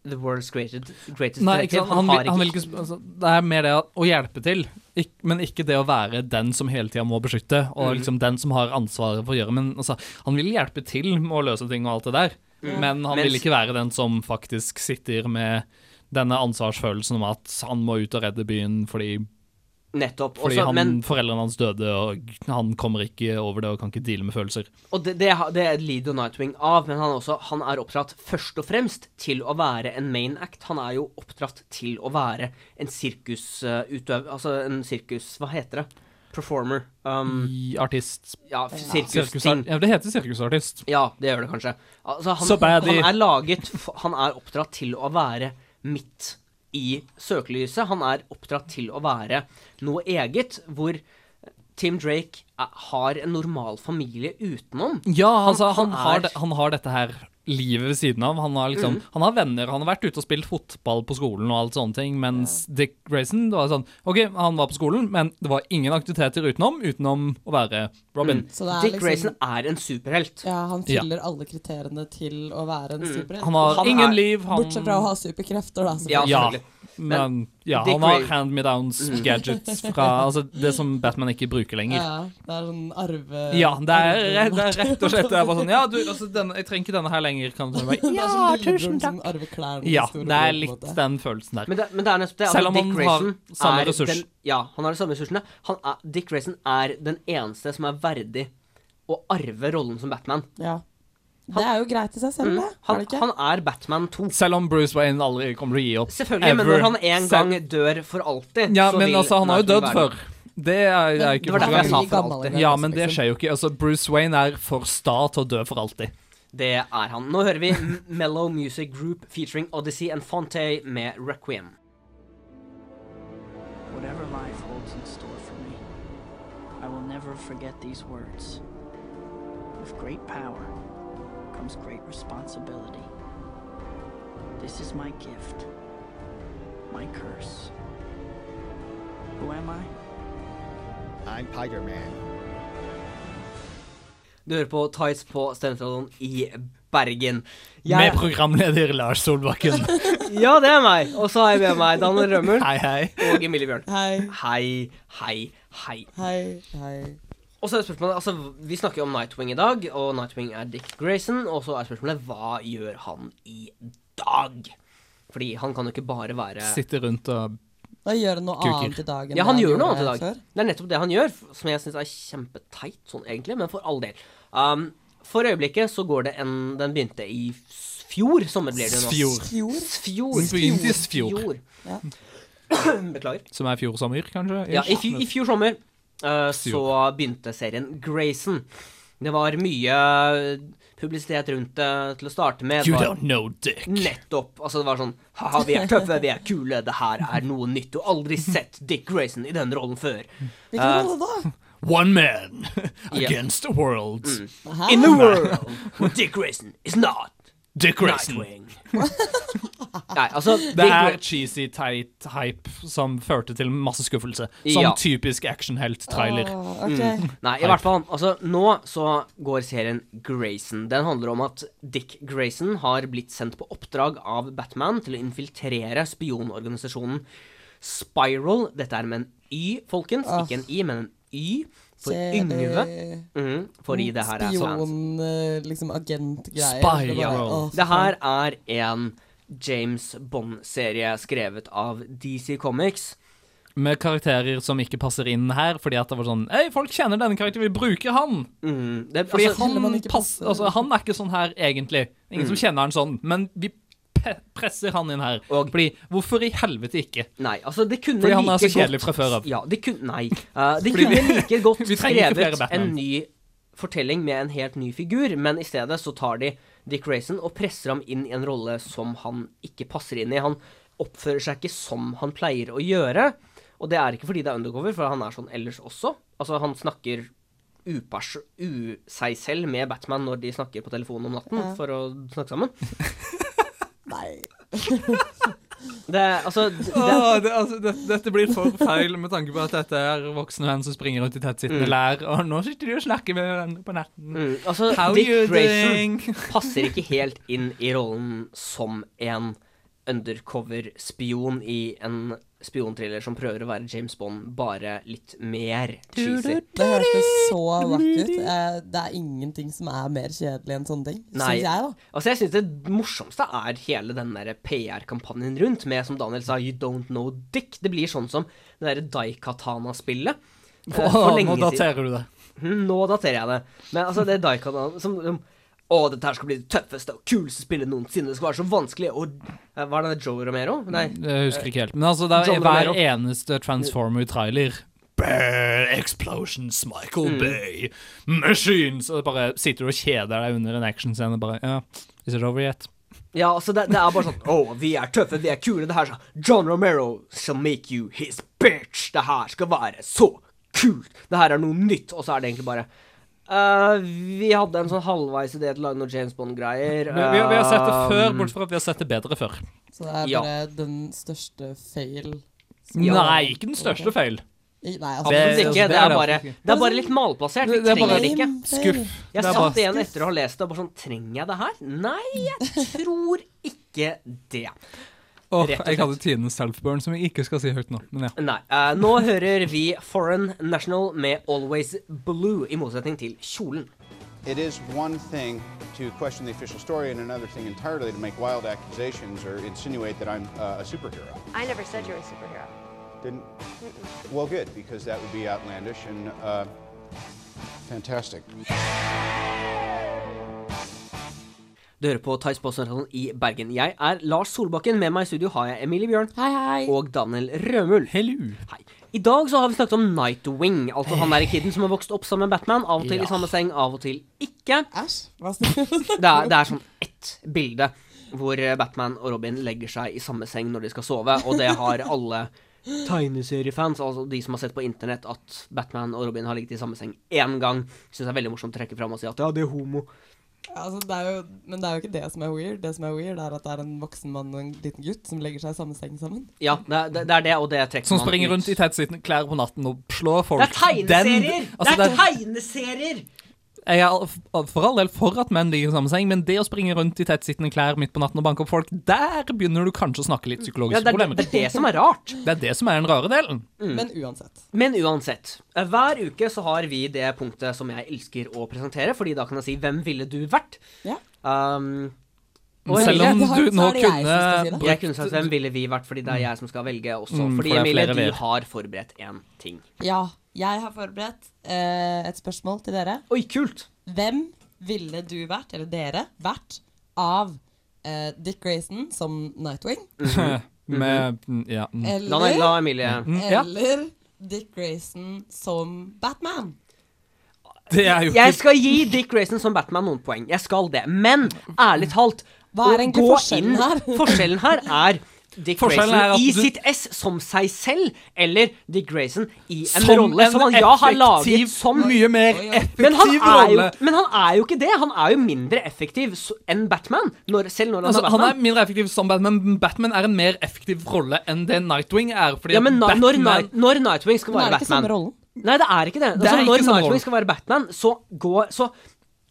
A: The World's Greatest, greatest
C: Nei, ikke
A: Detective.
C: sant? Han, vil,
A: har
C: han vil ikke sp- altså, Det er mer det å hjelpe til, ikk, men ikke det å være den som hele tida må beskytte,
A: Mm.
C: og liksom den som har ansvaret for å gjøre Men altså, han vil hjelpe til med å løse ting og alt det der, men han
A: Mm.
C: vil
A: Mens-
C: ikke være den som faktisk sitter med denne ansvarsfølelsen om at han må ut og redde byen fordi,
A: Nettopp.
C: fordi
A: Også,
C: han,
A: men,
C: foreldrene hans døde, og han kommer ikke over det og kan ikke deale med følelser.
A: og det, det, har- det er Lido Nightwing av, men han er, også, han er oppdratt først og fremst til å være en main act. Han er jo eh, oppdratt til å være en sirkusutøver Altså en sirkus... Hva heter det? Performer. Um,
C: I artist.
A: ja, sirkusting.
C: Sirkusart. Ja, det heter sirkusartist.
A: Ja, det gjør det kanskje. Altså, han,
C: Så bad i-
A: han er laget f- Han er oppdratt til å være midt i søkelyset. Han er oppdratt til å være noe eget, hvor Tim Drake er, har en normal familie utenom.
C: Ja, altså,
A: han
C: han,
A: er-
C: har, de- han har dette her livet ved siden av. Han har,
A: Mm.
C: liksom, han har venner, han har vært ute og spilt fotball på skolen og alt sånne ting, mens Dick Grayson det var sånn OK, han var på skolen, men det var ingen aktiviteter utenom, utenom å være Robin.
B: Så det er
A: Dick
B: liksom-
A: Grayson er en superhelt.
B: Ja, han fyller alle kriteriene til å være en superhelt.
C: Mm. Han har
A: Han er-
C: ingen liv, han
B: Bortsett fra å ha superkrefter, da.
A: Ja,
B: selvfølgelig.
C: Ja,
A: selvfølgelig.
C: men ja,
A: Dick Mm.
C: han har
A: Gray-
C: hand-me-downs gadgets fra altså, det som Batman ikke bruker lenger.
B: Ja, det er sånn arve...
C: Ja, det er, det er rett
B: (laughs)
C: og slett det er bare sånn Ja, du, altså, denne, jeg trenger ikke denne her lenger. Kan du
A: (laughs)
C: bare,
B: Ja, tusen takk! Arveklærne
C: ja, det er litt den følelsen der.
A: Men det, men det er nesten det. altså,
C: Selv om
A: Dick
C: han har
A: Grayson
C: samme
A: er
C: ressurs.
A: Den, ja, han har de samme ressursene. Han er, Dick Grayson er den eneste som er verdig å arve rollen som Batman.
B: Ja. Det er jo greit i seg
C: Mm.
B: selv, det. er
A: Han,
B: det ikke?
A: han er Batman 2.
C: Selv om Bruce Wayne aldri kommer til å gi opp.
A: Selvfølgelig, men
C: Ever.
A: når han en
C: Selv-
A: gang dør for alltid
C: Ja,
A: så
C: men
A: vil
C: altså, han har jo
A: Batman
C: dødd
A: være-
C: før. Det er, det er ikke
A: Det var derfor jeg
C: første gang.
A: sa
B: Veldig
A: for
B: gammel
A: alltid.
B: engang.
C: Ja, men
A: liksom-
C: det
B: liksom.
C: skjer jo ikke. Altså, Bruce Wayne er for sta til å dø for alltid.
A: Det er han. Nå hører vi M- Mellow Music Group featuring Odyssey and Fonte med Requiem.
I: Whatever life holds in store for me, I will never forget these words. With great power comes great responsibility. This is my gift, my curse. Who am I?
D: I'm Tiger Man.
A: Du hører på Tights på Stensradioen i Bergen.
C: Med programleder Lars Solbakken.
A: (laughs) ja, det er meg. Og så har jeg med meg Daniel Rømmel
C: Hei, hei.
A: og Emilie Bjørn.
B: Hei,
A: Hei, hei, hei.
B: hei, hei.
A: Og så er spørsmålet, altså Vi snakker jo om Nightwing i dag, og Nightwing er Dick Grayson. Og så er spørsmålet hva gjør han i dag? Fordi han kan jo ikke bare være
C: Sitter rundt og
B: Da gjør han noe
C: Kuker.
B: annet i dag enn
A: Ja, han
B: det
A: gjør noe annet i dag.
B: gjorde før.
A: Det er nettopp det han gjør, f- som jeg syns er kjempeteit sånn egentlig, men for all del. Um, for øyeblikket så går det en Den begynte i s- fjor sommer, blir det jo nå.
C: Fjor.
B: Fjor?
A: Fjor.
C: Den begynte i fjor.
B: Ja.
A: Beklager.
C: Som er fjor sommer, kanskje?
A: Ja, i, fj- I fjor sommer eh, så
C: Fjor.
A: begynte serien Grayson. Det var mye eh, publisitet rundt det til å starte med. Det
C: You
A: var-
C: don't know dick.
A: Nettopp. Altså, det var sånn Haha, vi er tøffe, vi er kule, det her er noe nytt. Du har aldri sett Dick Grayson i denne rollen før.
B: Hvilken
A: Eh,
B: rolle da?
C: One man
A: (laughs) Ja. Mm.
C: against the world. Ah.
B: Hæ?
A: In the world where Dick Grayson is not
C: Dick Grayson.
A: Nightwing. Nei, altså
C: Det
A: Dick
C: er
A: Gra-
C: cheesy, teit hype som førte til masse skuffelse. Som
A: Ja.
C: typisk actionhelt-trailer.
B: Ah, ok.
A: Nei, i hvert fall. Altså, nå så går serien Grayson. Den handler om at Dick Grayson har blitt sendt på oppdrag av Batman til å infiltrere spionorganisasjonen Spiral. Dette er med en Y, folkens. Ikke en I, men en Y. For Yngve.
B: eh,
A: Mhm, fordi det her er sånn.
B: Spion, liksom agentgreier.
C: Spy,
B: Det var-
C: ja.
B: Åh,
A: Det her er en James Bond-serie skrevet av DC Comics.
C: Med karakterer som ikke passer inn her, fordi at det var sånn Hei, folk kjenner denne karakteren, vi bruker han!
A: Mhm, det,
C: Fordi
A: altså,
B: selv om
C: han,
B: han ikke
C: pass,
B: passer.
C: altså, han er ikke sånn her, egentlig. Ingen
A: Mm.
C: som kjenner han sånn, men vi pe presser han inn her.
A: Og-
C: fordi hvorfor i helvete (laughs) ikke?
A: Nei, altså det kunne
C: Fordi han er
A: like
C: så
A: godt-
C: kjedelig fra før av.
A: Ja, det kunne Nei. Eh, det
C: Fordi
A: kunne
C: vi- (laughs)
A: like godt
C: vi trenger ikke flere
A: skrevet
C: Batman.
A: en ny fortelling med en helt ny figur, men i stedet så tar de Dick Grayson og presser ham inn i en rolle som han ikke passer inn i. Han oppfører seg ikke som han pleier å gjøre, og det er ikke fordi det er undercover, for han er sånn ellers også. Altså, han snakker upers u seg selv med Batman når de snakker på telefonen om natten for å snakke sammen.
B: Nei.
A: Det, altså, det,
C: Åh, det, altså, det, dette blir for feil med tanke på at dette er voksne menn som springer rundt i tettsittende lær. Og nå sitter de og snakker med hverandre på natten.
A: mm, altså
C: How
A: Dick
C: you
A: Grayson
C: doing? (laughs)
A: passer ikke helt inn i rollen som en undercover-spion i en spionthriller som prøver å være James Bond, bare litt mer cheesy.
B: Det hørtes så vakkert ut. Eh, Det er ingenting som er mer kjedelig enn sånne ting.
A: Nei.
B: Syns jeg, da.
A: Altså, jeg syns det morsomste er hele den der PR-kampanjen rundt, med som Daniel sa, You Don't Know Dick. Det blir sånn som det derre Daikatana-spillet. eh,
C: Åh, nå daterer du det.
A: Hm, Nå daterer jeg det. Men altså, det er Daikatana som som, Å, dette her skal bli det tøffeste og kuleste spillet noensinne. Det skal være så vanskelig og eh, Hva er det, Joe Romero? Nei.
C: Jeg husker ikke helt. Men altså, det er
A: John
C: hver
A: Romero.
C: eneste Transformer-trailer Bear Explosions,
A: Mm.
C: Michael Bay, Machines Og bare sitter du og kjeder deg under en actionscene. Bare, ja, is it over yet?
A: Ja, altså det, det er bare sånn Å, vi er tøffe, vi er kule. Det her sånn John Romero shall make you his bitch. Det her skal være så kult. Det her er noe nytt. Og så er det egentlig bare «Eh, Vi hadde en sånn halvveis idé til å lage noe James Bond-greier.
C: Vi, vi, vi har sett det før,
A: Eh,
C: bortsett fra at vi har sett det bedre før.
B: Så det er
A: Ja.
B: bare den største fail.
C: Nei, ikke den største feil.
B: I- Nei,
A: absolutt
B: altså.
C: Det-
A: Eh, ikke.
C: det
A: Det
C: er
A: er
C: det
A: bare, det er bare litt malplassert. Vi
C: Det er bare-
A: trenger det ikke.
C: Skuff.
A: Jeg
C: Det er
A: satt
C: bare-
A: igjen etter å ha lest det og bare sånn Trenger jeg det her? Nei, jeg tror ikke det.
C: Åh,
A: rett og
C: jeg hadde tidenes self-burn, som jeg ikke skal si høyt nå. Men ja.
A: Nei. eh, nå hører vi Foreign National med Always Blue, i motsetning til kjolen.
D: It is one thing to question the official story, and another thing entirely to make wild accusations or insinuate that I'm uh, a superhero.
J: I never said you're a superhero.
D: Didn't? Well, good, because that would be outlandish and uh, fantastic.
A: Du hører på Thais Postmaraton i Bergen. Jeg er Lars Solbakken. Med meg i studio har jeg Emilie Bjørn
B: Hei, hei.
A: og Daniel Rømul.
C: Hello.
A: Hei. I dag så har vi snakket om Nightwing, altså han der kiden som har vokst opp sammen med Batman. Av og til
C: Ja.
A: i samme seng, av og til ikke.
B: Æsj. Hva snakker du om?
A: Det er, det er sånn ett bilde hvor eh, Batman og Robin legger seg i samme seng når de skal sove, og det har alle tegneseriefans, altså de som har sett på internett at Batman og Robin har ligget i samme seng én gang, syns det er veldig morsomt å trekke fram og si at ja, det er homo.
B: Altså, det er jo, men det er jo ikke det som er weird. Det som er weird, er at det er en voksen mann og en liten gutt som legger seg i samme seng sammen.
A: Ja, det, er- det er det, og det trekker
C: Som
A: man
C: springer
A: ut.
C: rundt i tettsittende klær på natten og slår folk.
A: Det er tegneserier!
C: Den- altså,
A: det er
C: det er-
A: tegneserier!
C: jeg er al- for all del for at menn ligger i samme seng, men det å springe rundt i tettsittende klær midt på natten og banke opp folk, der begynner du kanskje å snakke litt
A: Ja,
C: psykologiske
A: det, er,
C: problemer.
A: det er det som er rart.
C: Det er det som er den rare delen.
B: Men uansett.
A: Men uansett, eh, hver uke så har vi det punktet som jeg elsker å presentere, fordi da kan jeg si 'Hvem ville du vært?'
B: Ja.
A: Um, og
C: Selv
A: Emilie,
C: om
B: det har-
C: du
B: så
C: nå
B: er det jeg som skal si
C: kunne
B: det.
A: jeg kunne sagt 'Hvem ville vi vært?' fordi det er jeg som skal velge også. fordi
C: Mm, for det er
A: Emilie,
C: flere
A: du
C: vi-er.
A: har forberedt én ting.
B: Ja, jeg har forberedt eh, et spørsmål til dere.
A: Oi, kult!
B: Hvem ville du vært, eller dere, vært av eh, Dick Grayson som Nightwing?
C: Mm. (laughs) Med Ja. mm.
A: La, meg-
B: Eller,
A: la Emilie
C: ja. Mm.
B: eller Dick Grayson som Batman?
C: Det er jo
A: Jeg
C: ikke
A: skal gi Dick Grayson som Batman noen poeng. Jeg skal det. Men ærlig talt
B: Hva er
A: å
B: egentlig
A: gå
B: forskjellen her?
A: (laughs) Forskjellen her er Dick
C: Forskjellen
A: Grayson
C: er at
A: i
C: du-
A: sitt S som seg selv, eller Dick Grayson i en
C: Som
A: rolle som
C: en
A: han ja har
C: effektiv,
A: laget som
C: Mye mer
B: Oi, oi.
A: men han, er
C: effektiv
A: jo,
C: rolle.
A: men han er jo ikke det. Han er jo mindre effektiv s- enn Batman. Når, selv når han
C: Altså,
A: er
C: han
A: Batman.
C: er mindre effektiv som Batman, men Batman er en mer effektiv rolle enn det Nightwing er. Fordi
A: ja, men
C: at
A: na-
C: Batman,
A: når, Night, når Nightwing skal
B: Men er
A: være
B: det ikke samme
A: Batman
B: rollen?
A: Nei, det er ikke det.
C: Det
A: Altså,
C: er ikke
A: når
C: samme rolle.
A: Nightwing skal være Batman, så går Så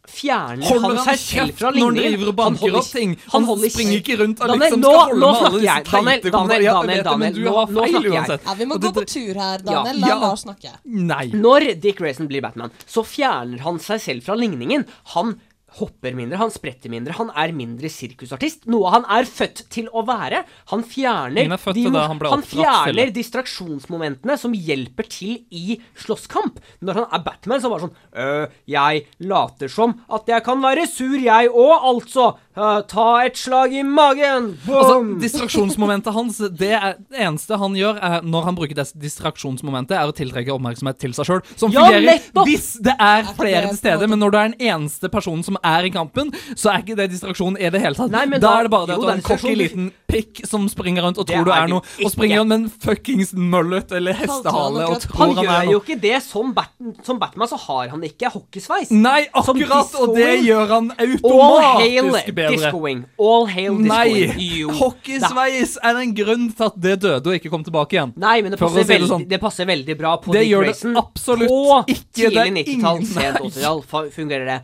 A: fjerner
C: holder
A: han
C: han
A: seg selv
C: kjeft
A: fra
C: når han
A: linjen.
C: driver og banker
A: holder-
C: opp ting.
A: han
C: Han,
A: holder
C: springer ikke rundt og
A: Daniel,
C: liksom
A: nå-
C: skal
A: nå
C: holde med alle
A: snakker
C: disse
A: jeg. Daniel,
C: teite
A: Daniel,
C: kommentarer. Ja, jeg
A: Daniel,
C: vet det, men
A: Daniel,
C: du
A: nå-
C: har
A: nå
C: feil
A: snakker jeg.
C: uansett.
B: Ja, vi må gå
C: Og det-
B: på tur her,
A: Ja.
B: Daniel. La
C: Ja.
B: Lars snakke.
C: Nei.
A: Når Dick Grayson blir Batman, så fjerner han seg selv fra ligningen. Han hopper mindre, han spretter mindre, han er mindre sirkusartist. Noe han er født til å være. Han fjerner,
C: Ingen er født til det, han ble
A: han
C: oppdratt til
A: fjerner distraksjonsmomentene som hjelper til i slåsskamp. Når han er Batman, så er det bare sånn øh, Jeg later som at jeg kan være sur, jeg òg, altså. Øh, ta et slag i magen. Boom! (laughs)
C: Altså, distraksjonsmomentet hans Det er, det eneste han gjør er, når han bruker dis- distraksjonsmomentet, er å tiltrekke oppmerksomhet til seg sjøl. Som
A: Ja,
C: fungerer
A: nettopp!
C: hvis det er
B: ikke det
C: flere
B: på en
C: til stede,
B: måte-
C: men når du er den eneste personen som er i kampen, så er ikke det distraksjon i det hele tatt.
A: Nei, men
C: da,
A: da-
C: er det bare det
A: jo,
C: at du
A: det er
C: er en cocky
A: distraksjon.
C: liten pikk som springer rundt og
A: Det
C: tror du
A: er
C: er
A: du
C: noe,
A: ikke.
C: og springer rundt med en fuckings mullet eller
B: Kalte han
C: hestehale og
B: akkurat-
A: han
C: tror han,
A: gjør
C: er
A: jo
C: noe.
A: ikke det. Som, Bat som Batman så har han ikke hockeysveis.
C: Nei,
A: Som
C: akkurat! Og det
A: discoen.
C: gjør han
A: All hail
C: automatisk bedre.
A: discoing. All hail discoing.
C: Nei!
A: Jo.
C: Hockeysveis er en grunn til at det døde og ikke kom tilbake igjen.
A: Nei, men det
C: For å
A: passer,
C: si det
A: veldig, det,
C: sånn.
A: passer veldig bra på
C: Det
A: Dick
C: gjør det
A: Grayson.
C: absolutt
A: på
C: ikke. Det er
A: tidlig 90-tall,
C: ingen-
A: sent
C: Nei.
A: 80-tall fa- fungerer det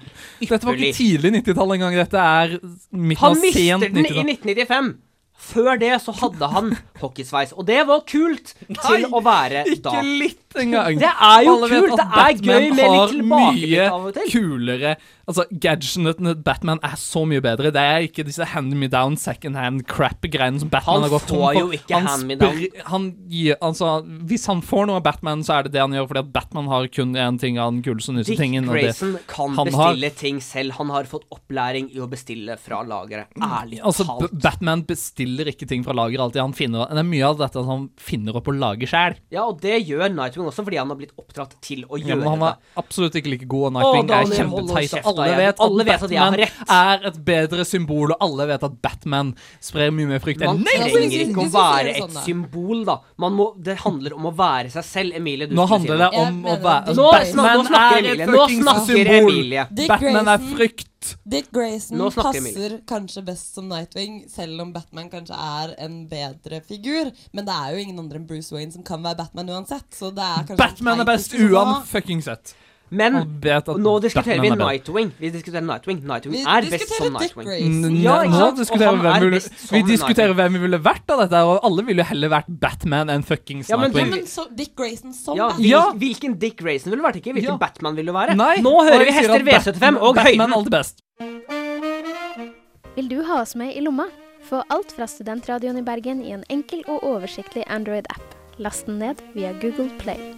C: Dette var
A: ypperlig.
C: ikke tidlig 90-tall engang. Dette er midten
A: Han
C: av
A: mister
C: sent
A: den i
C: 90-tall.
A: 1995. Før det så hadde han hockeysveis, og det var kult til å være da.
C: Ikke litt engang.
A: Det er jo
C: Alle vet
A: kult!
C: at
A: Det er gøy
C: Batman
A: med
C: har
A: litt tilbakeblikk av og
C: mye
A: til.
C: kulere Altså, Gadgetene til Batman er så mye bedre. Det er ikke disse hand-me-down, second-hand-crap-greiene som Batman
A: Han
C: har gått tom
A: får
C: for.
A: jo ikke
C: Han
A: hand-me-down.
C: spr- Han gir, altså, hvis han får noe av Batman, så er det det han gjør, fordi at Batman har kun én ting av den kuleste, nyeste
A: Dick
C: tingen. og det-
A: Grayson kan
C: han har-
A: bestille ting selv. Han har fått opplæring i å bestille fra lageret. Ærlig
C: Altså,
A: talt.
C: B- Batman bestiller ikke ting fra lageret alltid. Han finner, det er mye av dette han finner opp og lager sjæl.
A: Ja, og det gjør Nightwing også, fordi han har blitt oppdratt til å
C: Ja,
A: gjøre
C: men han
A: det.
C: er absolutt ikke like god, og
A: Å,
C: Nightwing er
A: Daniel, hold nå
C: kjempeteit.
A: kjeft, da,
C: og Alle
A: jeg-
C: vet,
A: alle vet at jeg har
C: Batman
A: rett.
C: er et bedre symbol, og alle vet at Batman sprer mye mer frykt enn
A: Man
C: Nightwing.
A: trenger ikke å
B: Hvis vi sier
A: være
B: det sånn,
A: et
B: da.
A: symbol, da. Man må, det handler om å være seg selv. Emilie, du
C: Nå
A: skulle si
C: handler det
B: Jeg
C: om å
B: mener
C: være
B: at
A: Nå
B: Batman
A: snakker, nå snakker
C: er
A: Emilie.
C: et
A: Nå
C: fucking
A: snakker
C: symbol.
A: Emilie.
B: Dick
C: Batman er
B: Grayson-
C: frykt.
B: Dick Grayson
A: Nå snakker
B: passer kanskje best som Nightwing, selv om Batman kanskje er en bedre figur. Men det er jo ingen andre enn Bruce Wayne som kan være Batman uansett. Så det er kanskje
C: Batman er
B: teit
C: best
B: diskusjon å ha.
C: uansett.
A: Men
C: Han vet at
A: nå diskuterer vi
C: Batman er bedre.
A: Nightwing. Vi diskuterer Nightwing. Nightwing
B: Vi
A: er best
B: diskuterer
A: som
B: Dick
A: Nightwing.
B: Grayson.
A: Ja, ikke
C: nå
A: sant?
C: diskuterer
A: Og
C: vi
A: han er sånn
C: hvem vi,
A: best
C: vi
A: som
C: diskuterer
A: Nightwing.
C: hvem vi ville vært av dette, og alle ville heller vært Batman enn fuckings
A: Ja, men
B: Ja,
C: Nightwing.
B: men så Dick Grayson som
A: Ja,
B: Batman.
A: hvil,
C: Ja.
A: Hvilken Dick Grayson ville du vært? Ikke hvilken
C: Ja.
A: Batman ville du være?
C: Nei,
A: nå
C: og
A: hører vi
C: jeg sier
A: hester
C: at
A: V75 og
C: Batman-
A: høyden.
C: Batman alltid best.
J: Vil du ha oss med i lomma? Få alt fra Studentradioen i Bergen i en enkel og oversiktlig Android-app. Last den ned via Google Play.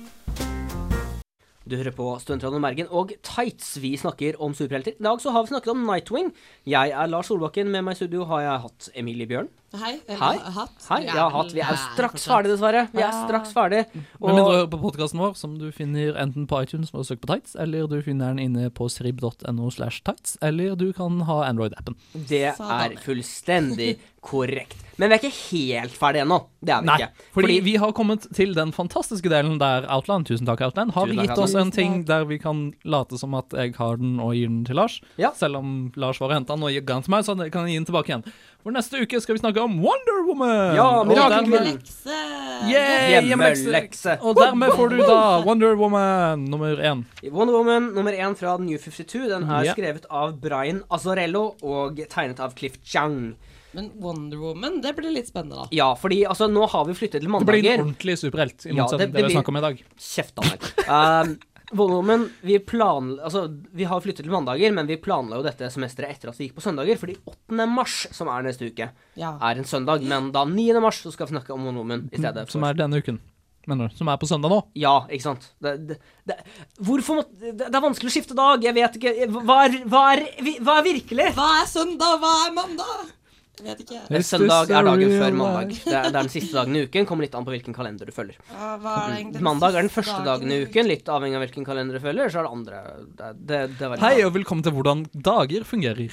A: Du hører på Studentradioen Bergen og Tights. Vi snakker om superhelter. I dag så har vi snakket om Nightwing. Jeg er Lars Solbakken. Med meg i studio har jeg hatt Emilie Bjørn.
B: Hei. eller
A: Hei.
B: Hatt.
A: Hei, jeg har hatt. Vi er jo straks ferdig, dessverre. Vi er straks ferdig.
C: Med mindre du hører på podkasten vår, som du finner enten på iTunes ved å søke på tights, eller du finner den inne på srib.no slash tights, eller du kan ha Android-appen.
A: Det er
B: Satan.
A: fullstendig korrekt. Men vi er ikke helt ferdig ennå. Det er vi
C: Nei,
A: ikke.
C: fordi vi har kommet til den fantastiske delen der Outland, tusen takk Outland, har
A: Tusen takk,
C: gitt oss en ting der vi kan late som at jeg har den og gir den til Lars,
A: Ja.
C: selv om Lars var og hentet den og ga den til meg, så kan jeg gi den tilbake igjen. For neste uke skal vi snakke om Wonder Woman!
A: Ja,
C: Og
A: mirakelkvinnen.
C: dermed-
B: Lekse.
C: Yay, hjemmelekse.
A: Hjemmelekse.
C: Og dermed får du da Wonder Woman nummer én.
A: Wonder Woman nummer én fra The New 52. Den er
C: Ja.
A: skrevet av Brian Azzarello og tegnet av Cliff Chang.
B: Men Wonder Woman, det blir litt spennende, da.
A: Ja, fordi altså, nå har vi flyttet til
C: Det blir en
A: mandager.
C: ordentlig superhelt, i
A: Ja, det-
C: motsetning til det
A: det
C: vi
A: blir-
C: snakker om i dag.
A: Kjeft, Daniel. Um, Wonder Woman, vi plan... Altså, vi har flyttet til mandager, men vi planla jo dette semesteret etter at vi gikk på søndager, fordi 8. mars, som er neste uke,
B: Ja.
A: er en søndag. Men da 9. mars så skal vi snakke om Wonder Woman i stedet.
C: Mm, Som er denne uken. Mener du? Som er på søndag nå?
A: Ja, ikke sant. Det, det, det, hvorfor må det, det er vanskelig å skifte dag. Jeg vet ikke Hva er, hva er, vi- hva er virkelig?
B: Hva er søndag, hva er mandag? Jeg vet ikke.
C: Is this
A: Søndag
C: a
A: er dagen
C: real
A: før mandag.
C: life?
A: Det er, det er den siste dagen i uken. Kommer litt an på hvilken kalender du følger.
B: Hva hva er det egentlig
A: Mandag er den
B: siste
A: første dagen i uken, litt avhengig av hvilken kalender du følger. Så er det andre Det, det, det er veldig
C: Hei,
A: bra.
C: og velkommen til Hvordan dager fungerer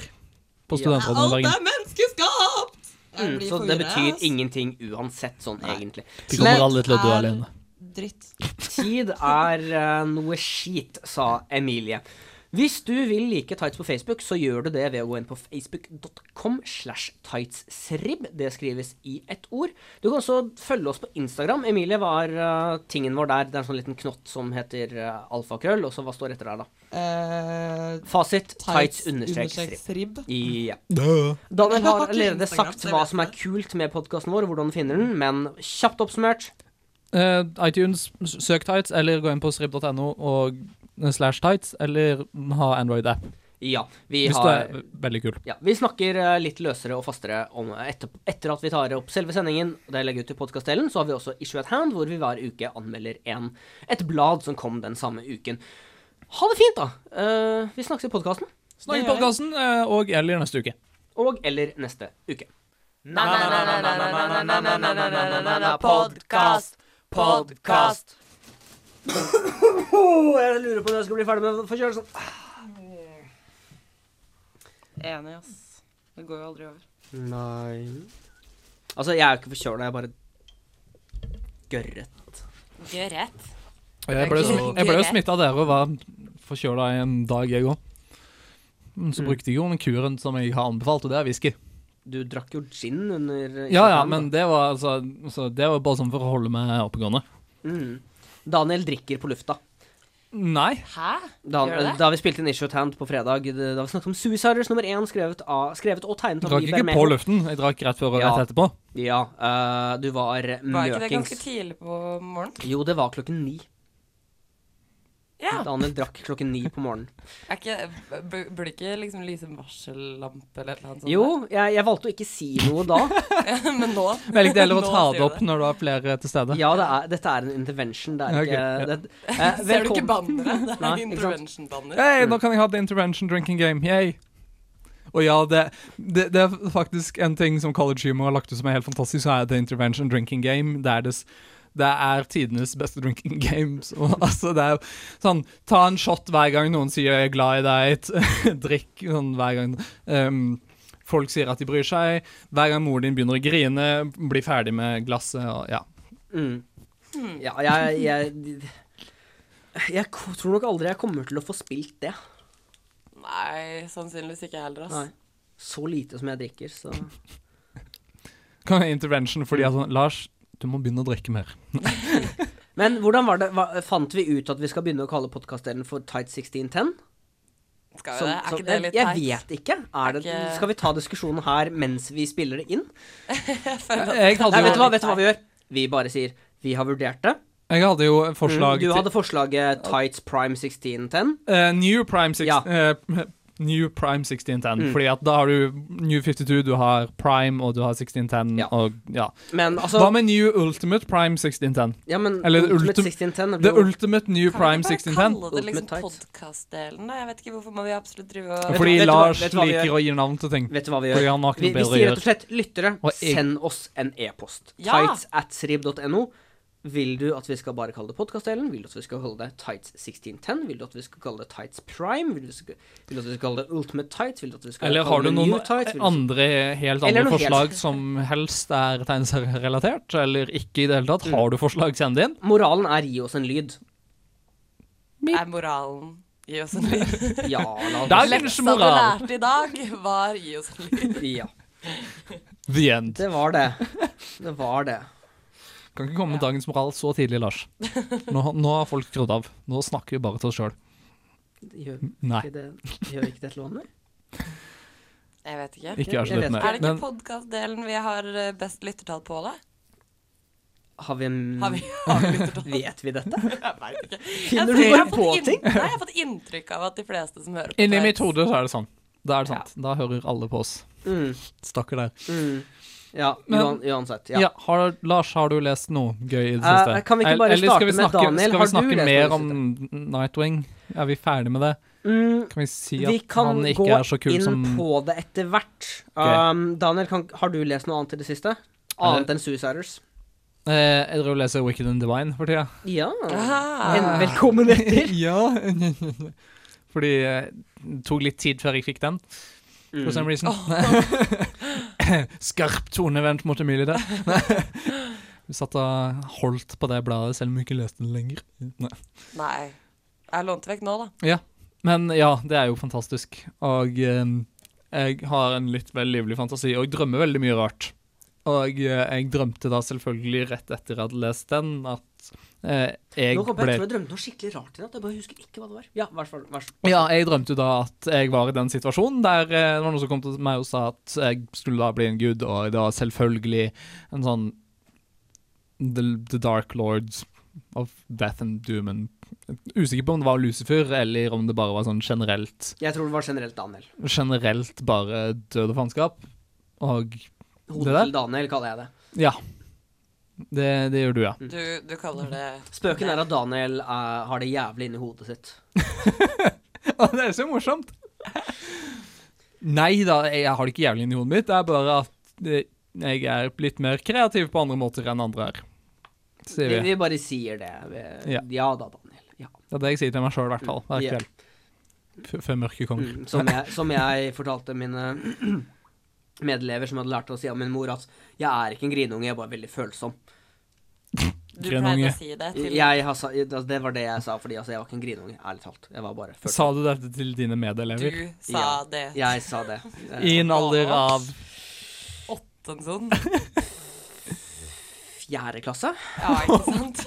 C: på
A: Ja.
C: Studentrådet
B: Alt
C: Bergen.
B: er menneskeskapt! Jeg
A: Mm,
B: blir
A: Så det
B: forvirret, ass.
A: betyr ingenting uansett, sånn egentlig.
C: Vi kommer
B: Slett
C: alle til å dø
B: er-
C: alene.
B: Dritt.
A: Tid er eh, noe skit, sa Emilie. Hvis du vil like tights på Facebook, så gjør du det ved å gå inn på facebook.com slash tightssrib. Det skrives i ett ord. Du kan også følge oss på Instagram. Emilie, hva er eh, tingen vår der? Det er en sånn liten knott som heter eh, alfakrøll, og så hva står etter der, da?
B: Eh,
A: Fasit tights
B: tights
A: understrek
B: understrek
A: strib.
B: strib.
A: Ja.
C: Dø.
A: Daniel
B: Jeg har
A: har
B: ikke
A: allerede
B: Instagram,
A: sagt
B: så jeg
A: hva
B: vet
A: som er
B: det.
A: kult med podkasten vår, og hvordan du finner den, men kjapt oppsummert
C: Eh, iTunes, s- søk tights, eller gå inn på srib.no og eh, slash tights, eller ha Android-app.
A: Ja. Vi
C: Hvis du
A: har
C: er veldig kul.
A: Ja, Vi snakker eh, litt løsere og fastere om eh, etter, etter at vi tar opp selve sendingen. og Det legger ut i podkastdelen. Så har vi også Issue at Hand, hvor vi hver uke anmelder en, et blad som kom den samme uken. Ha det fint, da. Eh, vi snakkes i podkasten.
C: Snakk i podkasten, og eller neste uke.
A: Og eller neste uke.
K: Podcast, podcast.
A: Åh, (coughs) jeg lurer på når jeg skal bli ferdig med forkjølelsen.
B: Enig, ass. Det går jo aldri over.
A: Nei Altså, jeg er jo ikke forkjøla, jeg er bare gørret.
K: Gjør rett.
C: Jeg ble,
K: ikke
C: jo smi-
K: så
C: jeg ble jo
K: greit.
C: smitta av dere og var forkjøla en dag, jeg òg. Men så brukte jeg jo den kuren som jeg har anbefalt, og det er whisky.
A: Du drakk jo gin under Issue
C: Ja,
A: at
C: ja,
A: Hand, da.
C: men det var, altså, så det var bare sånn for å holde meg oppegående.
A: Mm. Daniel drikker på lufta.
C: Nei.
B: Sånn
K: Hæ?
A: Da,
K: Gjør du det?
A: da vi spilte inn Issue at Hand på fredag, det- da vi snakket om Suiciders nummer én, skrevet, av, skrevet og tegnet
C: Jeg
A: av
C: drakk
A: Liber
C: ikke på
A: Mehl.
C: luften. Jeg drakk rett før og
A: Ja.
C: rett etterpå.
A: Ja, eh, du var
K: Var ikke det ganske
A: møkings.
K: tidlig på morgenen?
A: Jo, det var klokken ni.
B: Ja.
A: Daniel drakk klokken ni
K: (laughs)
A: på morgenen.
B: Er ikke, b- burde ikke liksom lyse en varsellampe eller et eller
K: Sånn
B: annet sånt?
A: Jo, jeg, jeg valgte å ikke si noe da.
B: der? (laughs) Men
A: (laughs)
B: nå
C: Velg det heller å
B: Nå
C: ta
B: sier
C: det
B: du
C: opp når du har flere til stede.
A: Ja, det er, dette er en intervention. Det er
C: Ok,
A: ikke
C: ja.
K: (laughs)
A: det, eh,
B: (laughs) Ser du ikke
A: velkom- (laughs)
B: banneret?
A: Nei,
B: Det er
A: ikke sant?
B: intervention-banner.
A: Mm.
C: Hei, nå kan jeg ha the intervention drinking game. Yay. Og ja, det, det, det er faktisk en ting som College Humor har lagt ut som er helt fantastisk, så er the intervention drinking game. Det er, des, det er tidenes beste drinking game. Så, altså, det er jo sånn Ta en shot hver gang noen sier 'jeg er glad i deg'. (laughs) Drikk sånn hver gang ehm, folk sier at de bryr seg. Hver gang moren din begynner å grine, bli ferdig med glasset og ja.
A: Mm. Ja, jeg, jeg Jeg ko- tror nok aldri jeg kommer til å få spilt det.
B: Nei, sannsynligvis ikke heller, ass.
A: Nei. Så lite som jeg drikker, så
C: Kan jeg intervention
A: Mm.
C: fordi at sånn Lars, du må begynne å
A: (laughs)
C: drikke mer.
A: Men hvordan var det hva, Fant vi ut at vi skal begynne å kalle podkastdelen for Tight 1610?
B: Skal
A: Som-
B: vi det? Er
A: som-
B: ikke det litt
A: jeg,
B: teit?
A: jeg vet ikke. Er det,
B: ikke-
A: Skal vi ta diskusjonen her mens vi spiller det inn?
C: Jeg hadde
A: Nei, vet du
C: jo-
A: hva, vet du hva vi gjør? Vi bare sier 'vi har vurdert det'.
C: Jeg hadde jo et forslag
A: Mm, du
C: til-
A: hadde forslaget Tights Prime 1610.
C: Eh, new Prime 16 eh, (laughs) New Prime 1610.
A: Mm.
C: Fordi at da har du New 52, du har Prime, og du har 1610, og ja.
A: Men altså
C: Hva med New Ultimate Prime 1610?
A: Ja, men
C: Eller
A: Ultimate
C: ultim-
A: 1610 det blir
C: The
A: jo-
C: Ultimate New Prime
B: Kalle
C: 1610.
B: det liksom podkastdelen, da. Jeg vet ikke hvorfor må vi absolutt drive og
C: Fordi
A: Vet du hva-
C: Lars
A: vet du hva vi
C: liker
A: gjør?
C: å gi navn til ting.
A: Vet du hva vi
C: Fordi
A: gjør?
C: han har ikke
A: Vi,
C: noe
A: vi
C: bedre å
A: sier
C: gjøre.
A: rett og slett lyttere,
C: Og jeg-
A: send oss en e-post.
B: Ja!
A: Tights at srib.no. Vil du at vi skal bare kalle det podkastdelen? Vil du at vi skal kalle det Tights 1610? Vil du at vi skal kalle det Tights Prime? Vil du, sk- vil du at vi skal kalle det Ultimate Tights? Vil du at vi skal
C: Eller
A: kalle
C: har du
A: det
C: noen
A: New Tights? Vil du-
C: andre, helt
A: Eller
C: andre
A: noe helt-
C: forslag som helst er tegneserierelatert, eller ikke i det hele
A: Mm.
C: tatt? Har du forslag, send det inn.
A: Moralen er gi oss en lyd.
B: Er moralen Gi oss en lyd.
A: Ja, la oss
C: Der
A: bare si
C: ligger
A: det.
C: det
B: Leksa du lærte i dag, var sånn- gi oss en
A: (laughs)
B: lyd.
A: Ja,
C: The end.
A: det var det. Det var det.
C: Kan ikke komme med dagens moral så tidlig, Lars. Nå, nå har folk skrudd av. Nå snakker vi bare til oss sjøl.
A: Gjør
C: Nei.
A: ikke det, gjør ikke det til vanlig?
B: Jeg vet ikke.
C: Ikke
A: Jeg vet
C: avslutt mer.
B: Er det ikke
C: Men Mm.
B: podkastdelen vi har eh, best lyttertall på, da?
A: Har vi en
B: Har vi, (laughs) har vi
C: (laughs)
B: lyttertall?
A: Vet vi dette?
B: (laughs) Jeg vet ikke.
A: Finner
B: Jeg
A: du
B: tror-
A: bare
B: jeg har
A: på
B: fått inn-
A: ting?
B: Nei, jeg har fått inntrykk av at de fleste som hører på
C: inni mitt
B: Tights-
C: hode så er det sånn. Da er det sant. Da hører alle på oss.
A: Mm,
C: Stakkar der.
A: mm. Ja,
C: Men-
A: uan, uansett.
C: Ja,
A: Ja.
C: har, Lars, har du lest noe gøy i det
A: Eh,
C: siste?
A: kan vi ikke
C: El-
A: bare
C: Eller skal
A: starte
C: vi
A: med
C: snakke,
A: Daniel? Har
C: Skal vi
A: du
C: snakke
A: lest
C: mer
A: noe
C: om
A: i det
C: Nightwing? Er vi ferdig med det?
A: Mm,
C: Kan vi si
A: Vi
C: at
A: kan
C: han
A: gå
C: ikke er så kul
A: inn
C: som
A: på det etter hvert. Um, Daniel, kan, har du lest noe annet i det siste? Annet enn Suiciders?
C: Eh, Jeg driver og leser Wicked and Divine for tida.
A: Ja.
B: Ah.
A: En, (laughs) velkommen etter.
C: (laughs) ja. Fordi eh, det tok litt tid før jeg fikk den, for some reason. (laughs) Skarp tonevendt mot Emilie der. (laughs) Vi satt og holdt på det bladet selv om vi ikke leste det lenger. Nei.
B: Nei. Jeg lånte vekk nå, da.
C: Men ja, det er jo fantastisk. Og eh, jeg har en litt vel livlig fantasi, og jeg drømmer veldig mye rart. Og eh, jeg drømte da selvfølgelig rett etter jeg hadde lest den, at eh, jeg
A: Nå kom jeg,
C: ble
A: jeg tror jeg drømte noe skikkelig rart i natt. Jeg bare husker ikke hva det var. Ja, vær så vær så-
C: Ja, jeg drømte jo da at jeg var i den situasjonen der eh, det var noen som kom til meg og sa at jeg skulle da bli en gud, og det var selvfølgelig en sånn The, the Dark Lords of Death and Doom. and- Usikker på om det var Lucifer, eller om det bare var sånn generelt
A: Jeg tror det var generelt Daniel.
C: Generelt bare død og faenskap. Og Det
A: Hodet
C: der?
A: til Daniel kaller jeg det.
C: ja. Det, det gjør du, ja.
A: Mm.
B: Du, du kaller det
A: Spøken er at Daniel eh, har det jævlig inni hodet sitt.
C: (laughs) Å, det er så morsomt! Nei da, jeg har det ikke jævlig inni hodet mitt. Det er bare at eh, jeg er litt mer kreativ på andre måter enn andre er. Sier
A: Vi,
C: vi.
A: vi bare sier det. Vi,
C: Ja.
A: ja. da, Daniel. Ja.
C: Det er det jeg sier til meg sjøl, i hvert fall. Hver
A: Ja.
C: kveld. F- Før mørket kommer.
A: Mm, som, jeg, som jeg fortalte mine (clears throat) medelever som hadde lært å si om min mor, at jeg er ikke en grinunge, jeg er bare veldig følsom.
B: Du
C: Grønn
B: pleide
C: unge.
B: å si det til
A: Jeg har, sa- det var det jeg sa, fordi altså, jeg var ikke en grinunge, ærlig talt. Jeg var bare
C: Sa
A: følsom.
C: du dette til dine medelever?
B: Du sa det til
A: Jeg sa det. Eh,
C: I en alder av
B: en sånn.
A: Fjerde klasse?
B: Ja, ikke
C: (laughs)
B: sant?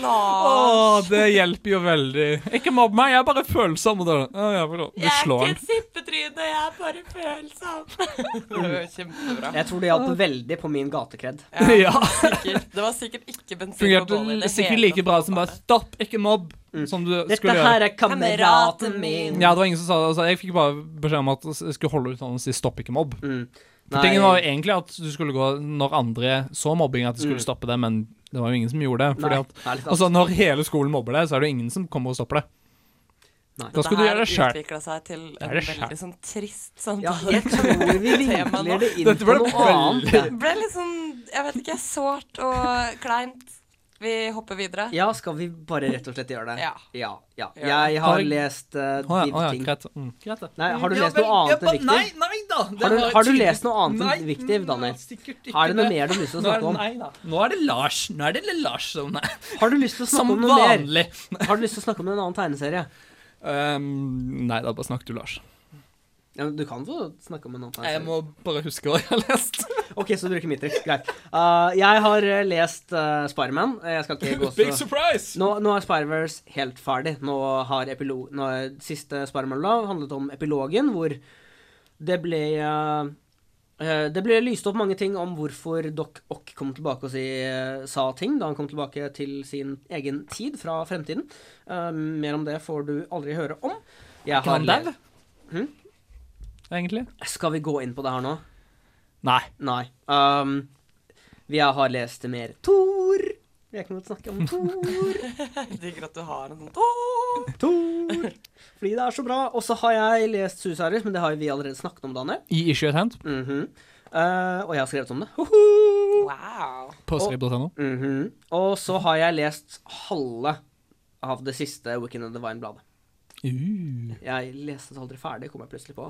C: Å,
B: Lars.
C: det hjelper jo veldig. Ikke mobb meg, jeg er bare følsom. og da- Å, ja, vel, Du
B: Jeg er
C: slår
B: ikke
C: den.
B: et
K: trynet. Jeg er bare følsom.
C: (laughs)
L: Det var kjempebra.
A: Jeg tror det hjalp veldig på min gatekred.
C: Ja.
L: Sikkert. Det var sikkert ikke bensin på bålet. i
C: Fungerte
L: det
C: sikkert
L: hele
C: like bra som bare 'stopp, ikke mobb', som du skulle gjøre.
A: Mm. her er kameraten min.
C: Ja, det var ingen som sa det. Altså, jeg fikk bare beskjed om at jeg skulle holde ut sånn og si 'stopp, ikke mobb'. For
A: Mm. Nei.
C: Tingen var jo egentlig at du skulle gå når andre så mobbing, at de skulle
A: Mm.
C: stoppe det, men det var jo ingen som gjorde det. Fordi
A: Nei,
C: at,
A: ærlig talt.
C: altså, når hele skolen mobber deg, så er det jo ingen som kommer og stopper det. Da skulle du gjøre det
L: Dette her
C: sjøl.
L: utvikla seg til
C: Det
L: en
C: er det sjæl.
L: veldig sånn trist samtale. (laughs)
A: Ja, jeg
C: (laughs)
A: tror vi
L: Tema nå.
A: vinkler det inn
C: Dette ble
A: på noe
C: veldig-
A: annet.
L: Det ble litt sånn, jeg vet ikke, sårt og kleint. Vi hopper videre.
A: Ja, skal vi bare rett og slett gjøre det?
L: Ja.
A: Ja. ja.
L: Gjør det.
A: Jeg
C: Har
A: har
C: jeg-
A: lest eh,
C: Å ja,
A: div
C: å ja,
A: ting.
C: greit. Mm. Greit det.
A: Nei, har du
C: Ja
A: lest
C: vel,
A: noe annet
C: ja,
A: enn
C: ba-
A: Viktiv?
C: nei, nei da, det
A: Har du,
C: var
A: har du
C: tydelig-
A: lest noe annet
C: Nei,
A: enn Viktiv, Daniel?
C: sikkert ikke
A: Er det noe
C: det.
A: mer du har lyst til å
C: Nå er
A: snakke om?
C: det- nei da. Nå er det Lars. Nå er det lille Lars som
A: Har du lyst til å snakke
C: Som
A: om noe mer?
C: vanlig.
A: Har du lyst til å snakke om en annen tegneserie?
C: Ehm, Nei, da bare snakk du, Lars.
A: Ja, men du kan få snakke om en annen tegneserie.
C: Jeg må bare huske hva jeg har lest.
A: Ok, så du bruker mitt triks. Greit. Uh, jeg har eh, lest uh, Spiderman. Jeg skal ikke gå så
C: (laughs) Big surprise!
A: Nå, nå er Spider-Verse helt ferdig. Nå har epilo nå er Siste Spider-Man la handlet om epilogen, hvor det ble eh, eh, Det ble lyst opp mange ting om hvorfor Doc Ock kom tilbake og si, eh, sa ting da han kom tilbake til sin egen tid fra fremtiden. Eh, mer om det får du aldri høre om. Jeg
C: Ikke han
A: le-
C: dau?
A: Hm?
C: Egentlig?
A: Skal vi gå inn på det her nå?
C: Nei.
A: Nei. Um, vi har lest mer Tor. Vi har ikke noe å snakke om Tor.
L: Jeg (laughs) digger at du har en sånn «Åh!»
A: (laughs) Tor. Fordi det er så bra. Og så har jeg lest Susaris, men det har jo vi allerede snakket om, Daniel.
C: I Issue at Hand
A: Mhm. Eh, og jeg har skrevet om det.
L: Wow.
C: på skrib.no.
A: Mhm. Og så har jeg lest halve av det siste Weekend of the Vine-bladet.
C: Uh,
A: Jeg leste det aldri ferdig, kom jeg plutselig på.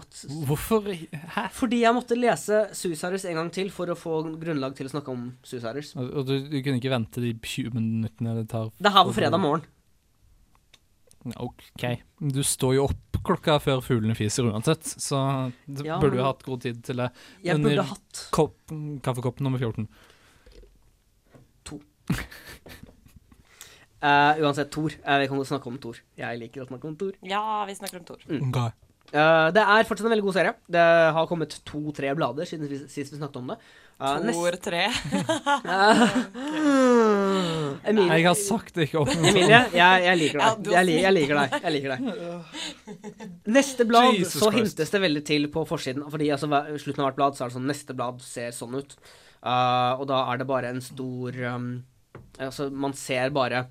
C: hvorfor Hæ?
A: Fordi jeg måtte lese Susaris en gang til for å få grunnlag til å snakke om Susaris.
C: Og og du, du kunne ikke vente de 20 minuttene det tar?
A: Det her var fredag morgen.
C: OK. Du står jo opp klokka før fuglene fiser uansett, så du
A: Ja,
C: burde jo
A: men-
C: hatt god tid til det.
A: Jeg
C: Men,
A: burde hatt
C: Kopp, kaffekopp nummer 14.
A: Eh, uansett, Thor. Eh, vi kan godt snakke om Thor. Jeg liker å snakke om Thor.
L: Ja, vi snakker om Thor.
A: Mm. Eh, det er fortsatt en veldig god serie. Det har kommet to-tre blader siden vi, sist vi snakket om det. Eh,
B: (laughs)
L: Thor 3.
A: nest- Eh, Emilie,
C: Jeg har sagt det ikke opp.
A: Emilie jeg, jeg liker
L: Ja,
A: deg.
L: du har
A: Jeg, li, jeg liker deg. Jeg liker deg.
L: (laughs)
A: Neste blad,
C: Jesus
A: så
C: Christ.
A: hintes det veldig til på forsiden. Fordi altså, hver- slutten av hvert blad, så er det sånn Neste blad ser sånn ut. Eh, og da er det bare en stor um, Altså, man ser bare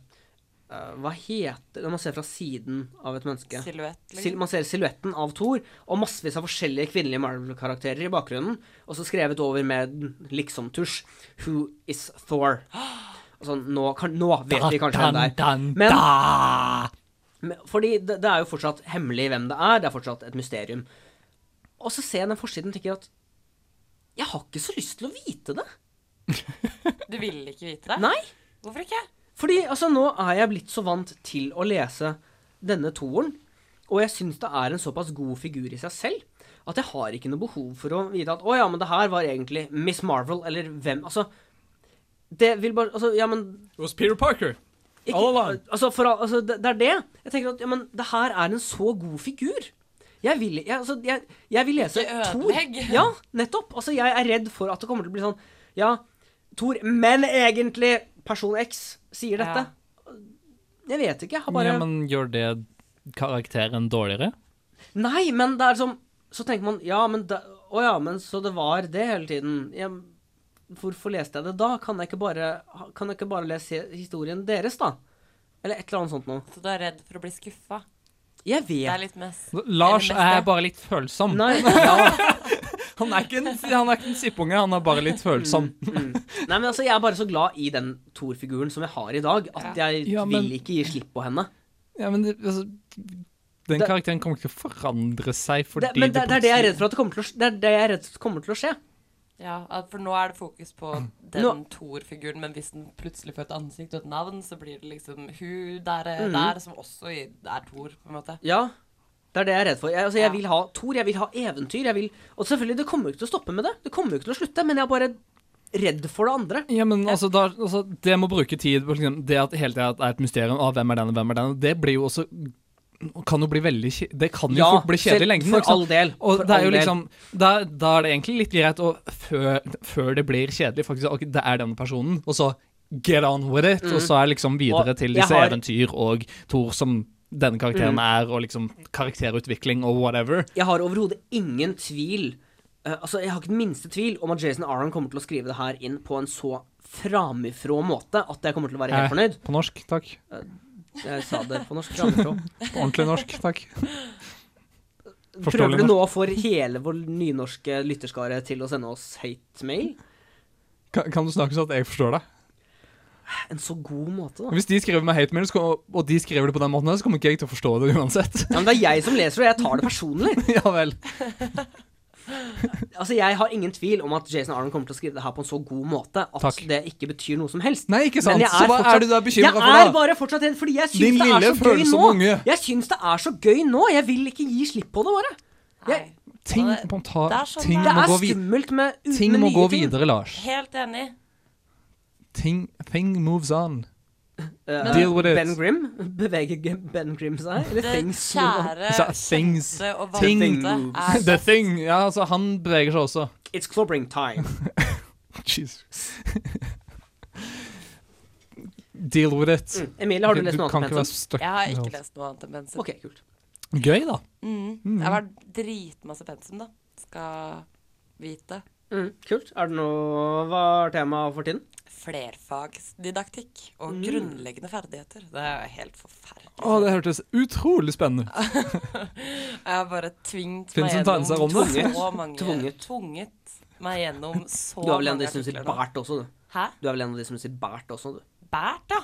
A: eh, Hva heter det man ser fra siden av et menneske?
L: Silhuett.
A: Sil man ser silhuetten av Thor og massevis av forskjellige kvinnelige Marvel-karakterer i bakgrunnen, og så skrevet over med liksom-tusj 'Who is Thor'. Og sånn, nå, kan, nå vet vi kanskje hvem det er. Men- Men, fordi det, det er jo fortsatt hemmelig hvem det er, det er fortsatt et mysterium. Og så ser jeg den forsiden og tenker at jeg har ikke så lyst til å vite det.
L: Du ville ikke vite det?
A: Nei.
L: Hvorfor ikke?
A: Fordi altså, nå er jeg blitt så vant til å lese denne toeren, og jeg syns det er en såpass god figur i seg selv at jeg har ikke noe behov for å vite at å ja, men det her var egentlig Miss Marvel, eller hvem Altså, det vil bare Altså, ja, men
C: Det var Peter Parker.
A: ikke,
C: All along.
A: Altså, for, al- altså, det, det er det. Jeg tenker at ja, men det her er en så god figur. Jeg vil, jeg, altså, jeg, jeg vil lese
L: Ikke
A: Thor.
L: ødelegg.
A: (laughs) Ja, nettopp. Altså, jeg er redd for at det kommer til å bli sånn Ja, Thor, men egentlig person X sier dette. Jeg vet ikke. Jeg har bare
C: Ja, men gjør det karakteren dårligere?
A: Nei, men det er som Så tenker man Ja, men da, Å ja, men så det var det hele tiden. Ja, hvorfor leste jeg det da? Kan jeg ikke bare, kan jeg ikke bare lese historien deres, da? Eller et eller annet sånt noe.
L: Så du er redd for å bli skuffa?
A: Jeg
L: Det
A: vet
L: er litt mest
C: Lars
L: det
C: er
L: beste.
C: bare litt følsom.
A: Nei, ja.
C: Han er ikke en, han er ikke en sippunge, han er bare litt følsom.
A: Mm. Nei, men altså, jeg er bare så glad i den Thor-figuren som jeg har i dag, at jeg
C: Ja, men-
A: vil ikke gi slipp på henne.
C: Ja, men det, altså, den
A: Det-
C: karakteren kommer ikke til å forandre seg fordi
A: det, men det, det er det jeg er redd for at det kommer til å, sk- det er det jeg er redd for kommer til å skje.
L: Ja, at- for nå er det fokus på den
A: Nå-
L: Thor-figuren, men hvis den plutselig får et ansikt og et navn, så blir det liksom hun der,
A: Mhm.
L: der som også i- er Thor, på en måte.
A: Ja, det er det jeg er redd for. Jeg, altså,
L: Ja.
A: jeg vil ha Thor, jeg vil ha eventyr, jeg vil Og selvfølgelig, det kommer jo ikke til å stoppe med det. Det kommer jo ikke til å slutte, men jeg er bare redd for det andre.
C: Ja, men altså, da, altså, ah, det må bruke tid på liksom, det at hele tida er et mysterium. Å, hvem er den, og hvem er den? Det blir jo også kan jo bli veldig kje- Det kan jo
A: Ja,
C: fort bli kjedelig i
A: selv-
C: lengden.
A: for
C: ikke sant?
A: all del,
C: Og
A: for
C: det er jo
A: all del.
C: liksom, da, da er det egentlig litt greit å før, før det blir kjedelig, faktisk ok, Det er denne personen, og så get on with it.
A: Mm.
C: Og så er liksom videre
A: Og
C: til
A: jeg
C: disse
A: har-
C: eventyr og Thor som denne karakteren
A: Mm.
C: er, og liksom karakterutvikling og whatever.
A: Jeg har overhodet ingen tvil eh, Altså, jeg har ikke den minste tvil om at Jason Aron kommer til å skrive det her inn på en så framifrå måte at jeg kommer til å være
C: Eh,
A: helt fornøyd.
C: På norsk, takk.
A: Eh, Jeg sa det på norsk framifrå.
C: På ordentlig norsk, takk.
A: Prøver
C: Forståelig
A: du nå
C: norsk.
A: å få hele vår nynorske lytterskare til å sende oss hate mail?
C: Kan, kan du snakke sånn at jeg forstår deg?
A: En så god måte, da.
C: Hvis de skriver med hate mail, så kom- og de skriver det på den måten, her, så kommer ikke jeg til å forstå det uansett. (laughs)
A: Ja, men det er jeg som leser det, og jeg tar det personlig.
C: ja vel.
A: Altså, Jeg har ingen tvil om at Jason Arnold kommer til å skrive det her på en så god måte at
C: Takk.
A: det ikke betyr noe som helst.
C: Nei, ikke sant. Så hva er du da bekymret for
A: Jeg
C: da?
A: er bare fortsatt redd, fordi jeg
C: Din
A: syns det er så
C: lille
A: gøy
C: følsomme
A: nå.
C: unge.
A: Jeg syns det er så gøy nå. Jeg vil ikke gi slipp på det, bare. Jeg,
C: Ting må, ta,
A: det er
L: sånn
C: ting
L: det er.
C: må gå
A: Det er
C: videre.
A: skummelt med, u-
C: Ting
A: med
C: må
A: nye
C: gå
A: ting.
C: videre, Lars.
L: Helt enig.
C: Ting, thing moves on.
A: Eh,
C: Deal with it.
A: Ben Grimm (laughs) beveger G- Ben Grimm seg? Eller
L: Det
A: things
L: kjære
C: Så, Altså, things.
L: kjente og
C: Ting.
L: valgte er
C: The thing. Ja, altså, han beveger seg også.
A: It's clobbering time.
C: Jesus. (laughs) Deal with it.
A: Mm. Emilie, har du lest noe annet
C: kan
A: enn
C: ikke være stuck
L: Jeg har ikke
C: med
L: lest noe annet enn pensum.
A: Ok, kult.
C: alt. Gøy, da.
L: Mm. Det har vært dritmasse pensum, da. Skal vite.
A: Mm, kult. Er det noe Hva er temaet for tiden?
L: Flerfagsdidaktikk og
A: Mm.
L: grunnleggende ferdigheter. Det er jo helt forferdelig.
C: Å, det hørtes utrolig spennende ut.
L: Jeg har bare tvingt
C: Finnes
L: meg
C: en
L: gjennom
C: danser om det?
L: så
A: Tvunget.
L: mange
A: Tvunget.
L: tvunget meg
A: (laughs)
L: gjennom så
A: Du er vel en av
L: mange
A: de som sier
L: artikler nå.
A: bært også, du.
L: Hæ?
A: Du er vel en av de som sier bært også, du.
L: Bært, ja.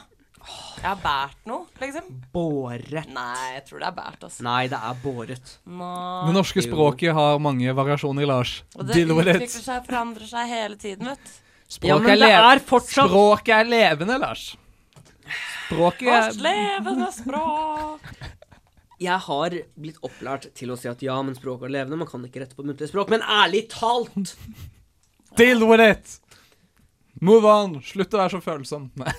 L: Jeg har bært noe, liksom.
A: Båret.
L: Nei, jeg tror det er bært, altså.
A: Nei, det er båret.
L: Nå-
C: Det
A: Ah.
C: norske språket har mange variasjoner, Lars.
L: Og det
C: Deal with
L: utvikler
C: it.
L: seg og forandrer seg hele tiden, vet du.
A: Ja, men
C: Språket
A: det
C: lev-
A: er fortsatt-
C: Språket er levende, Lars. Språket
L: Vårt
C: er
L: levende språk.
A: Jeg har blitt opplært til å si at ja, men språket er levende, man kan ikke rette på muntlig språk. Men ærlig talt!
C: Deal with it! Move on! Slutt å være så følsom. Nei.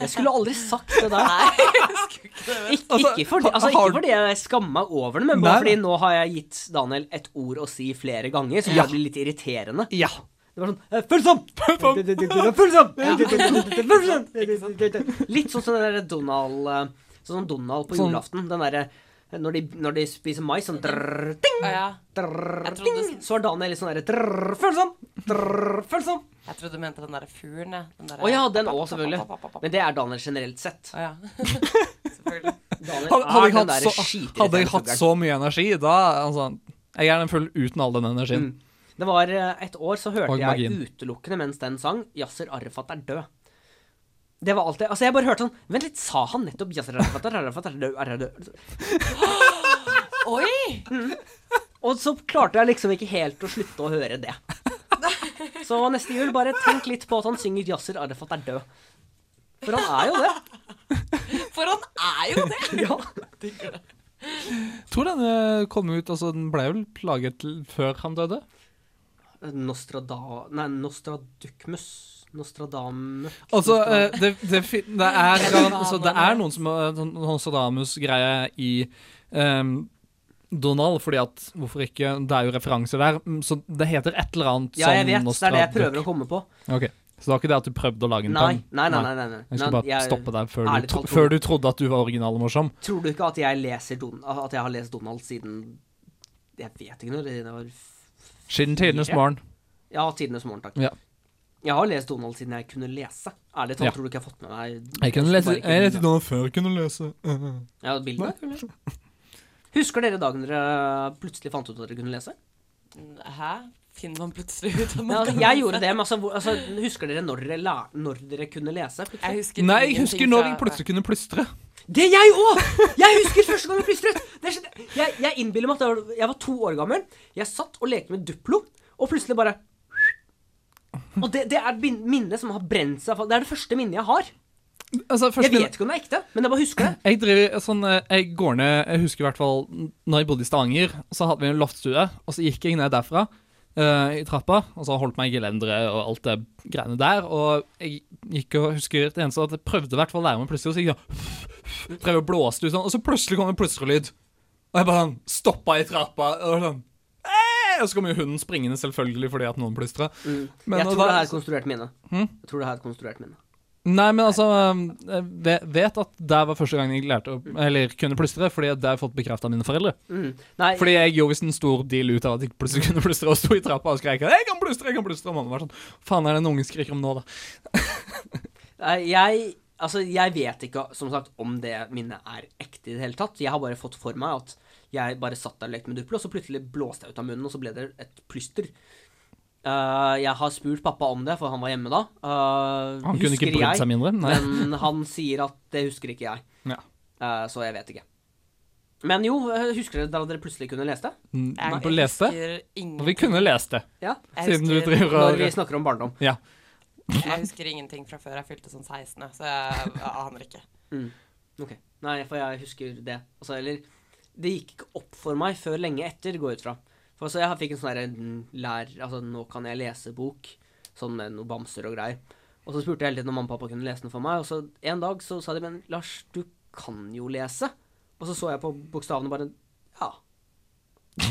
A: Jeg skulle aldri sagt det der. Ik
C: Altså,
A: ikke fordi altså,
C: har-
A: ikke fordi jeg skammer meg over det, men
C: Nei,
A: bare fordi
C: nei.
A: nå har jeg gitt Daniel et ord å si flere ganger, som
C: Ja.
A: bare blir litt irriterende.
C: Ja.
A: Det var sånn eh, Følsom! Følsom! Følsom! Litt sånn som den derre Donald eh, Sånn som Donald på
C: Sånn-
A: julaften. Den derre eh, når de, når de spiser mais, sånn drrr, ding,
L: Å ja.
A: drrr,
L: Jeg trodde
A: ding, Så er Daniel litt sånn derre drrr, Følsom! Drrr, følsom!
L: Jeg trodde du mente den derre fuglen, jeg. Den derre-
A: Å ja, den òg, selvfølgelig. Men det er Daniel generelt sett.
L: Å ja. (laughs)
A: Daniel
C: Hadde, hadde,
A: er
C: jeg
A: den
C: hatt
A: derre
C: så, hadde jeg hatt
A: skitirriterende
C: så mye energi, da altså, Jeg er den full uten all den energien.
A: Det var eh, et år så hørte
C: Og
A: jeg
C: magien.
A: utelukkende mens den sang 'Yasir Arafat er død'. Det var alltid Altså, jeg bare hørte sånn Vent litt, sa han nettopp 'Yasir Arafat er Arafat er død', er død?
L: Oi!
A: Og så klarte jeg liksom ikke helt å slutte å høre det. Så neste jul, bare tenk litt på at han synger 'Yasir Arafat er død'. For han er jo det.
L: For han er jo det!
A: Ja.
C: Tror denne kom ut altså, Den ble vel laget til- før han døde?
A: Nostrada... Nei, Nostradukmus. Nostradam...
C: Altså, eh, det, det, fin- det,
A: (laughs)
C: er, garan- altså, det er noen som har sånn Nostradamus-greie i ehm, Donald, fordi at Hvorfor ikke? Det er jo referanser der. mm, Så det heter et eller annet
A: Ja, jeg vet.
C: sånn
A: Det er det jeg
C: Nostraduk.
A: prøver å komme på.
C: Ok, Så det var ikke det at du prøvde å lage en
A: Nei,
C: pang?
A: nei, nei, nei, nei, nei.
C: Jeg skal
A: Nei,
C: bare
A: jeg-
C: stoppe deg før
A: ærlig
C: du, tro,
A: talt,
C: før du trodde at du var original og morsom.
A: Tror du ikke at jeg leser Don At jeg har lest Donald siden Jeg vet ikke når det var
C: Siden tidenes
A: Fire?
C: morgen.
A: Ja, tidenes morgen, takk.
C: Ja.
A: Jeg har lest Donald siden jeg kunne lese. Ærlig talt,
C: Ja.
A: tror du ikke jeg har fått med meg
C: Jeg kunne lese
A: bare ikke
C: jeg leste
A: bildet.
C: Donald før jeg kunne lese.
A: Ja, bildene kunne jeg lese. Husker dere dagen dere plutselig fant ut at dere kunne lese?
L: Hæ? Finner man plutselig ut om
A: Ja,
L: man
A: altså,
L: kan
A: jeg gjorde det, men altså, hvor- altså Husker dere når dere, la, når dere kunne lese?
L: Jeg
A: Plutselig?
L: husker
C: Nei, jeg
L: ingenting
C: husker når
L: fra-
C: jeg plutselig kunne plystre.
A: Det er jeg òg! Jeg husker første gang jeg plystret. Det skjedde. Jeg, jeg innbiller meg at jeg var, jeg var to år gammel. Jeg satt og lekte med Duplo, og plutselig bare Og det, det er et bin- minne som har brent seg fa- Det er det første minnet jeg har.
C: Altså,
A: Jeg
C: først-
A: vet ikke om det er ekte, men jeg bare husker det.
C: Jeg driver sånn eh, Jeg går ned Jeg husker i hvert fall n- Når jeg bodde i Stavanger, så hadde vi en loftstue, og så gikk jeg ned derfra. eh, i trappa, og så holdt meg i gelenderet og alt det greiene der. Og jeg gikk og husker det eneste at jeg prøvde i hvert fall å lære meg plutselig, og så gikk jeg sånn (laughs) Prøvde å blåse det ut sånn, og så plutselig kom det en plystrer-lyd. Og jeg bare sånn stoppa i trappa. Og sånn «Eh!» og så kom jo hunden springende, selvfølgelig, fordi at noen plystra. Men-
A: Mm. jeg
C: og
A: tror
C: da-
A: det her er et konstruert minne.
C: Hm?
A: Jeg tror det her er et konstruert minne.
C: Nei, men altså Jeg ve- vet at det var første gang jeg lærte å, Eller kunne plystre, fordi det har jeg fått bekreftet av mine foreldre.
A: Mm. Nei,
C: Fordi jeg gjorde visst en stor deal ut av at jeg plutselig (laughs) kunne plystre, og sto i trappa og skreik 'Jeg kan plystre, jeg kan plystre', og mamma var sånn 'Faen er det en unge skriker om nå, da?'
A: Nei, Eh, Jeg, altså, jeg vet ikke som sagt, om det minnet er ekte i det hele tatt. Jeg har bare fått for meg at jeg bare satt der og lekte med Duplo, og så plutselig blåste jeg ut av munnen, og så ble det et plyster. Eh, jeg har spurt pappa om det, for han var hjemme da. Eh,
C: Han kunne
A: husker
C: ikke
A: jeg,
C: brydd seg mindre, nei.
A: men han sier at det husker ikke jeg.
C: Ja.
A: Eh, så jeg vet ikke. Men jo, eh, husker dere da dere plutselig kunne lese det?
C: Mm,
A: Nei.
C: på lese det? Og vi kunne lese det.
A: Ja.
L: Jeg
C: Siden du
L: husker-
C: driver og
A: Når vi snakker om barndom.
C: Ja.
L: Jeg husker ingenting fra før jeg fylte sånn 16, så jeg, jeg aner ikke.
A: Mm. Ok. Nei, for jeg husker det. Altså, eller Det gikk ikke opp for meg før lenge etter, går jeg ut fra. For altså, jeg fikk en sånn derre mm, lær... Altså, nå kan jeg lese-bok. Sånn med noen bamser og greier. Og så spurte jeg hele tiden om mamma og pappa kunne lese den for meg. Og så en dag så sa de men Lars, du kan jo lese. Og så så jeg på bokstavene og bare Ja.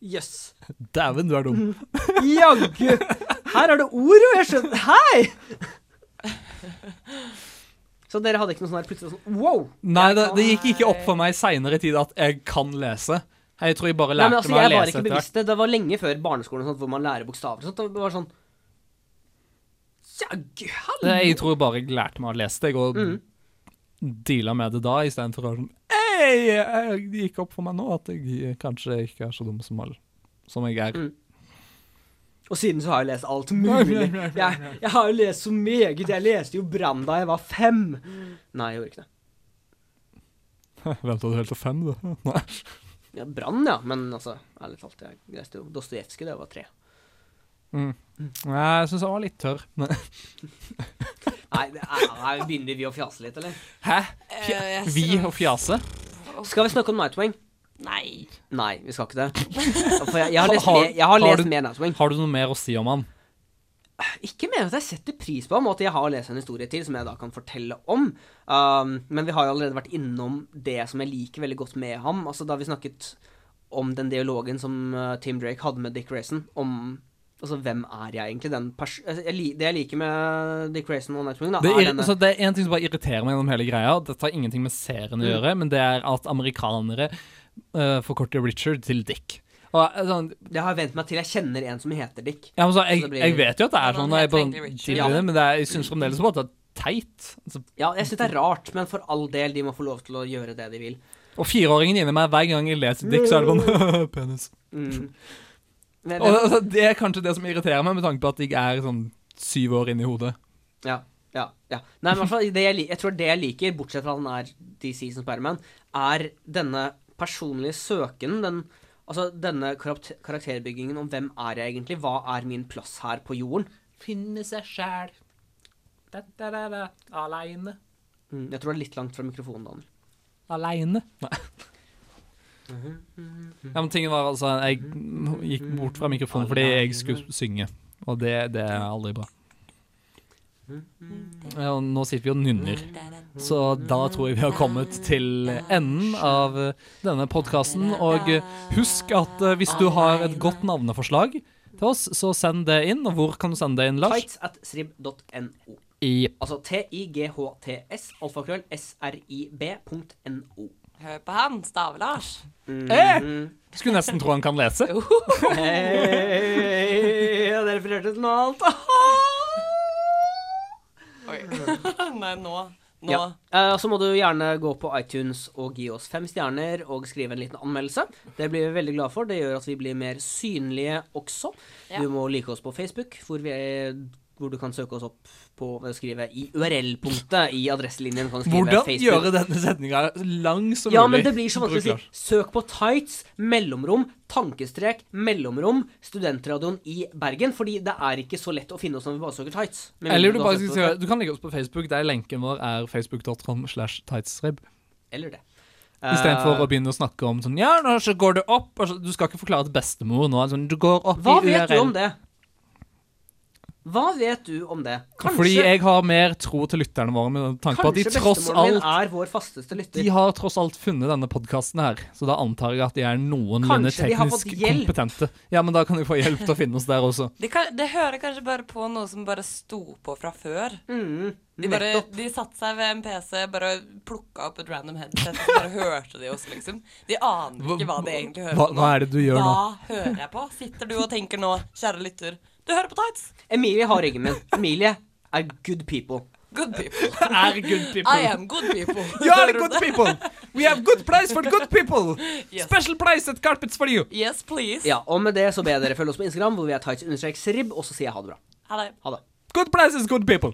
A: Jøss.
C: Dæven, du er dum.
A: Mm. Jaggu! Her er det ord, og jeg skjønner Hei! Så dere hadde ikke noe sånn her plutselig sånn wow?
C: Nei, det, det gikk ikke opp for
A: eh,
C: meg seinere i tid at jeg kan lese. Jeg tror jeg bare
A: Nei,
C: lærte
A: men altså,
C: meg å
A: jeg var
C: lese
A: ikke
C: etter hvert.
A: bevisst det. Det var lenge før barneskolen og sånt, hvor man lærer bokstaver og sånt. og Det var sånn Jaggu, hallo!
C: Jeg tror bare jeg lærte meg å lese det, og
A: Mm.
C: deala med det da, istedenfor å være sånn Hei, det gikk opp for meg nå at jeg kanskje ikke er så dum som, alle- som jeg
A: Mm.
C: (laughs) er.
A: Og siden så har jeg lest alt
C: Nei,
A: mulig.
C: nei, nei, nei,
A: Jeg, jeg har jo lest så meget. Jeg leste jo Brann da jeg var fem. Nei, jeg gjorde ikke det.
C: Venta du helt til fem, du? (laughs) Nei.
A: Ja, Brann, ja. Men altså, ærlig talt, jeg leste jo Dostojevskij da jeg var tre.
C: Mm. Nei, jeg syns han var litt tørr. Nei.
A: Nei, det er, nei, begynner vi å fjase litt, eller?
C: Hæ?
L: Eh, jeg
C: Vi
L: ser-
C: og fjase?
A: Skal vi snakke om Nightwing?
L: Nei.
A: Nei, vi skal ikke det. For jeg, jeg har lest,
C: Har-
A: mer, jeg har
C: har
A: lest
C: du-
A: mer Nightwing.
C: Har du noe mer å si om han?
A: Ikke mer at jeg setter pris på ham, og at jeg har lest en historie til som jeg da kan fortelle om. Um, men vi har jo allerede vært innom det som jeg liker veldig godt med ham. Altså Da vi snakket om den dialogen som uh, Tim Drake hadde med Dick Grayson, om Altså, hvem er jeg egentlig? Den pers altså, jeg, li- det jeg liker med Dick Grayson og Nightwing, da,
C: Det
A: er
C: er, altså-
A: denne
C: så det er en ting som bare irriterer meg gjennom hele greia. Dette har ingenting med serien å
A: Mm.
C: gjøre, men det er at amerikanere eh, forkorter Richard til Dick. Og, eh, sånn,
A: Det har jeg vent meg til. Jeg kjenner en som heter Dick.
C: ja, men så,
A: Så det
C: jeg,
A: blir-
C: jeg vet jo at det
L: Ja,
C: er sånn,
L: han
C: og jeg,
L: heter egentlig
C: bare,
L: Richard.
C: dealer med det, men det er, jeg syns fremdeles bare at det er teit. Altså,
A: Ja, jeg syns det er rart, men for all del, de må få lov til å gjøre det de vil.
C: Og fireåringen inni meg, hver gang jeg leser Dick, så er det sånn (laughs) Penis.
A: Mm. Men,
C: Og altså, Det er kanskje det som irriterer meg, med tanke på at jeg er sånn syv år inni hodet.
A: Ja, ja, ja. Nei, men i hvert fall, det jeg, li- jeg tror det jeg liker, bortsett fra at han er DC som Spiderman, er denne personlige søken, den, altså denne karakter karakterbyggingen om hvem er jeg egentlig, hva er min plass her på jorden.
C: Finne seg sjæl. Aleine.
A: Mm, jeg tror det er litt langt fra mikrofonen, Daniel.
C: Aleine. Ja, men tingen var altså Jeg gikk bort fra mikrofonen fordi jeg skulle synge, og det, det er aldri bra. Ja, og nå sitter vi og nynner, så da tror jeg vi har kommet til enden av eh, denne podkasten. Og eh, husk at eh, hvis du har et godt navneforslag til oss, så send det inn. Og hvor kan du sende det inn, Lars?
A: Tights at srib.no.
C: I
A: Altså T-I-G-H-T-S, alfakrøll, S-R-I-B.no.
L: Hør på han, Stave-Lars.
C: Eh! Skulle nesten tro han kan
A: (laughs)
C: lese.
A: Hei, (laughs) ja, dere refererte til noe annet.
L: Oi. (laughs) Nei, nå. Nå.
A: Ja. Eh, og så må du gjerne gå på iTunes og gi oss fem stjerner og skrive en liten anmeldelse. Det blir vi veldig glad for. Det gjør at vi blir mer synlige også.
L: Ja.
A: Du må like oss på Facebook, hvor, vi er, hvor du kan søke oss opp på ved å skrive i URL-punktet i adresselinjen. Kan du skrive
C: Hvordan
A: Facebook.
C: gjøre denne sendinga lang som
A: Ja,
C: mulig?
A: men det blir så vanskelig å
C: Bruk
A: si. Søk på tights, mellomrom, tankestrek, mellomrom, studentradioen i Bergen. Fordi det er ikke så lett å finne oss når vi bare søker tights.
C: Lars.
A: Med
C: Eller
A: mindre har
C: du, bare skal
A: søkt på
C: skrive, du kan legge oss på Facebook, der lenken vår er facebook.com slash tightsrib.
A: Eller det. Eh,
C: Istedenfor å begynne å snakke om sånn Ja, nå så går du opp. og så- Du skal ikke forklare til bestemor nå. Sånn, du går opp
A: Hva
C: i URL.
A: vet du om det? Hva vet du om det?
C: Fordi jeg har mer tro til lytterne våre med tanke på at de
A: kanskje
C: tross
A: bestemoren min
C: alt
A: er vår fasteste lytter.
C: De har tross alt funnet denne podkasten her, så da antar jeg at de er noenlunde
A: Kanskje de har fått
C: teknisk
A: hjelp.
C: kompetente. Ja, men da kan de få hjelp til å finne oss der (laughs) også.
B: De, kan, de hører kanskje bare på noe som bare sto på fra før.
L: Mm.
B: de bare, de satte seg ved en PC, bare plukka opp et random headset, og så bare hørte de oss, liksom. De aner ikke hva de egentlig hører
C: hva-
B: på.
C: hva er det du gjør
B: hva
C: nå?
B: hører jeg på? Sitter du og tenker nå, kjære lytter, du hører på tights?
A: Emilie har ryggen min. Emilie er good people.
B: Good people.
C: Er (laughs) good people.
B: I am good people.
C: You are good people! We have good price for good
A: (laughs)
C: people! Special price at carpets for you!
B: Yes, please.
A: Ja, og med det så ber jeg dere følge oss på Instagram, hvor vi er tights-rib, og så sier jeg ha det bra.
B: Ha det.
A: Ha det.
C: Good price is good people.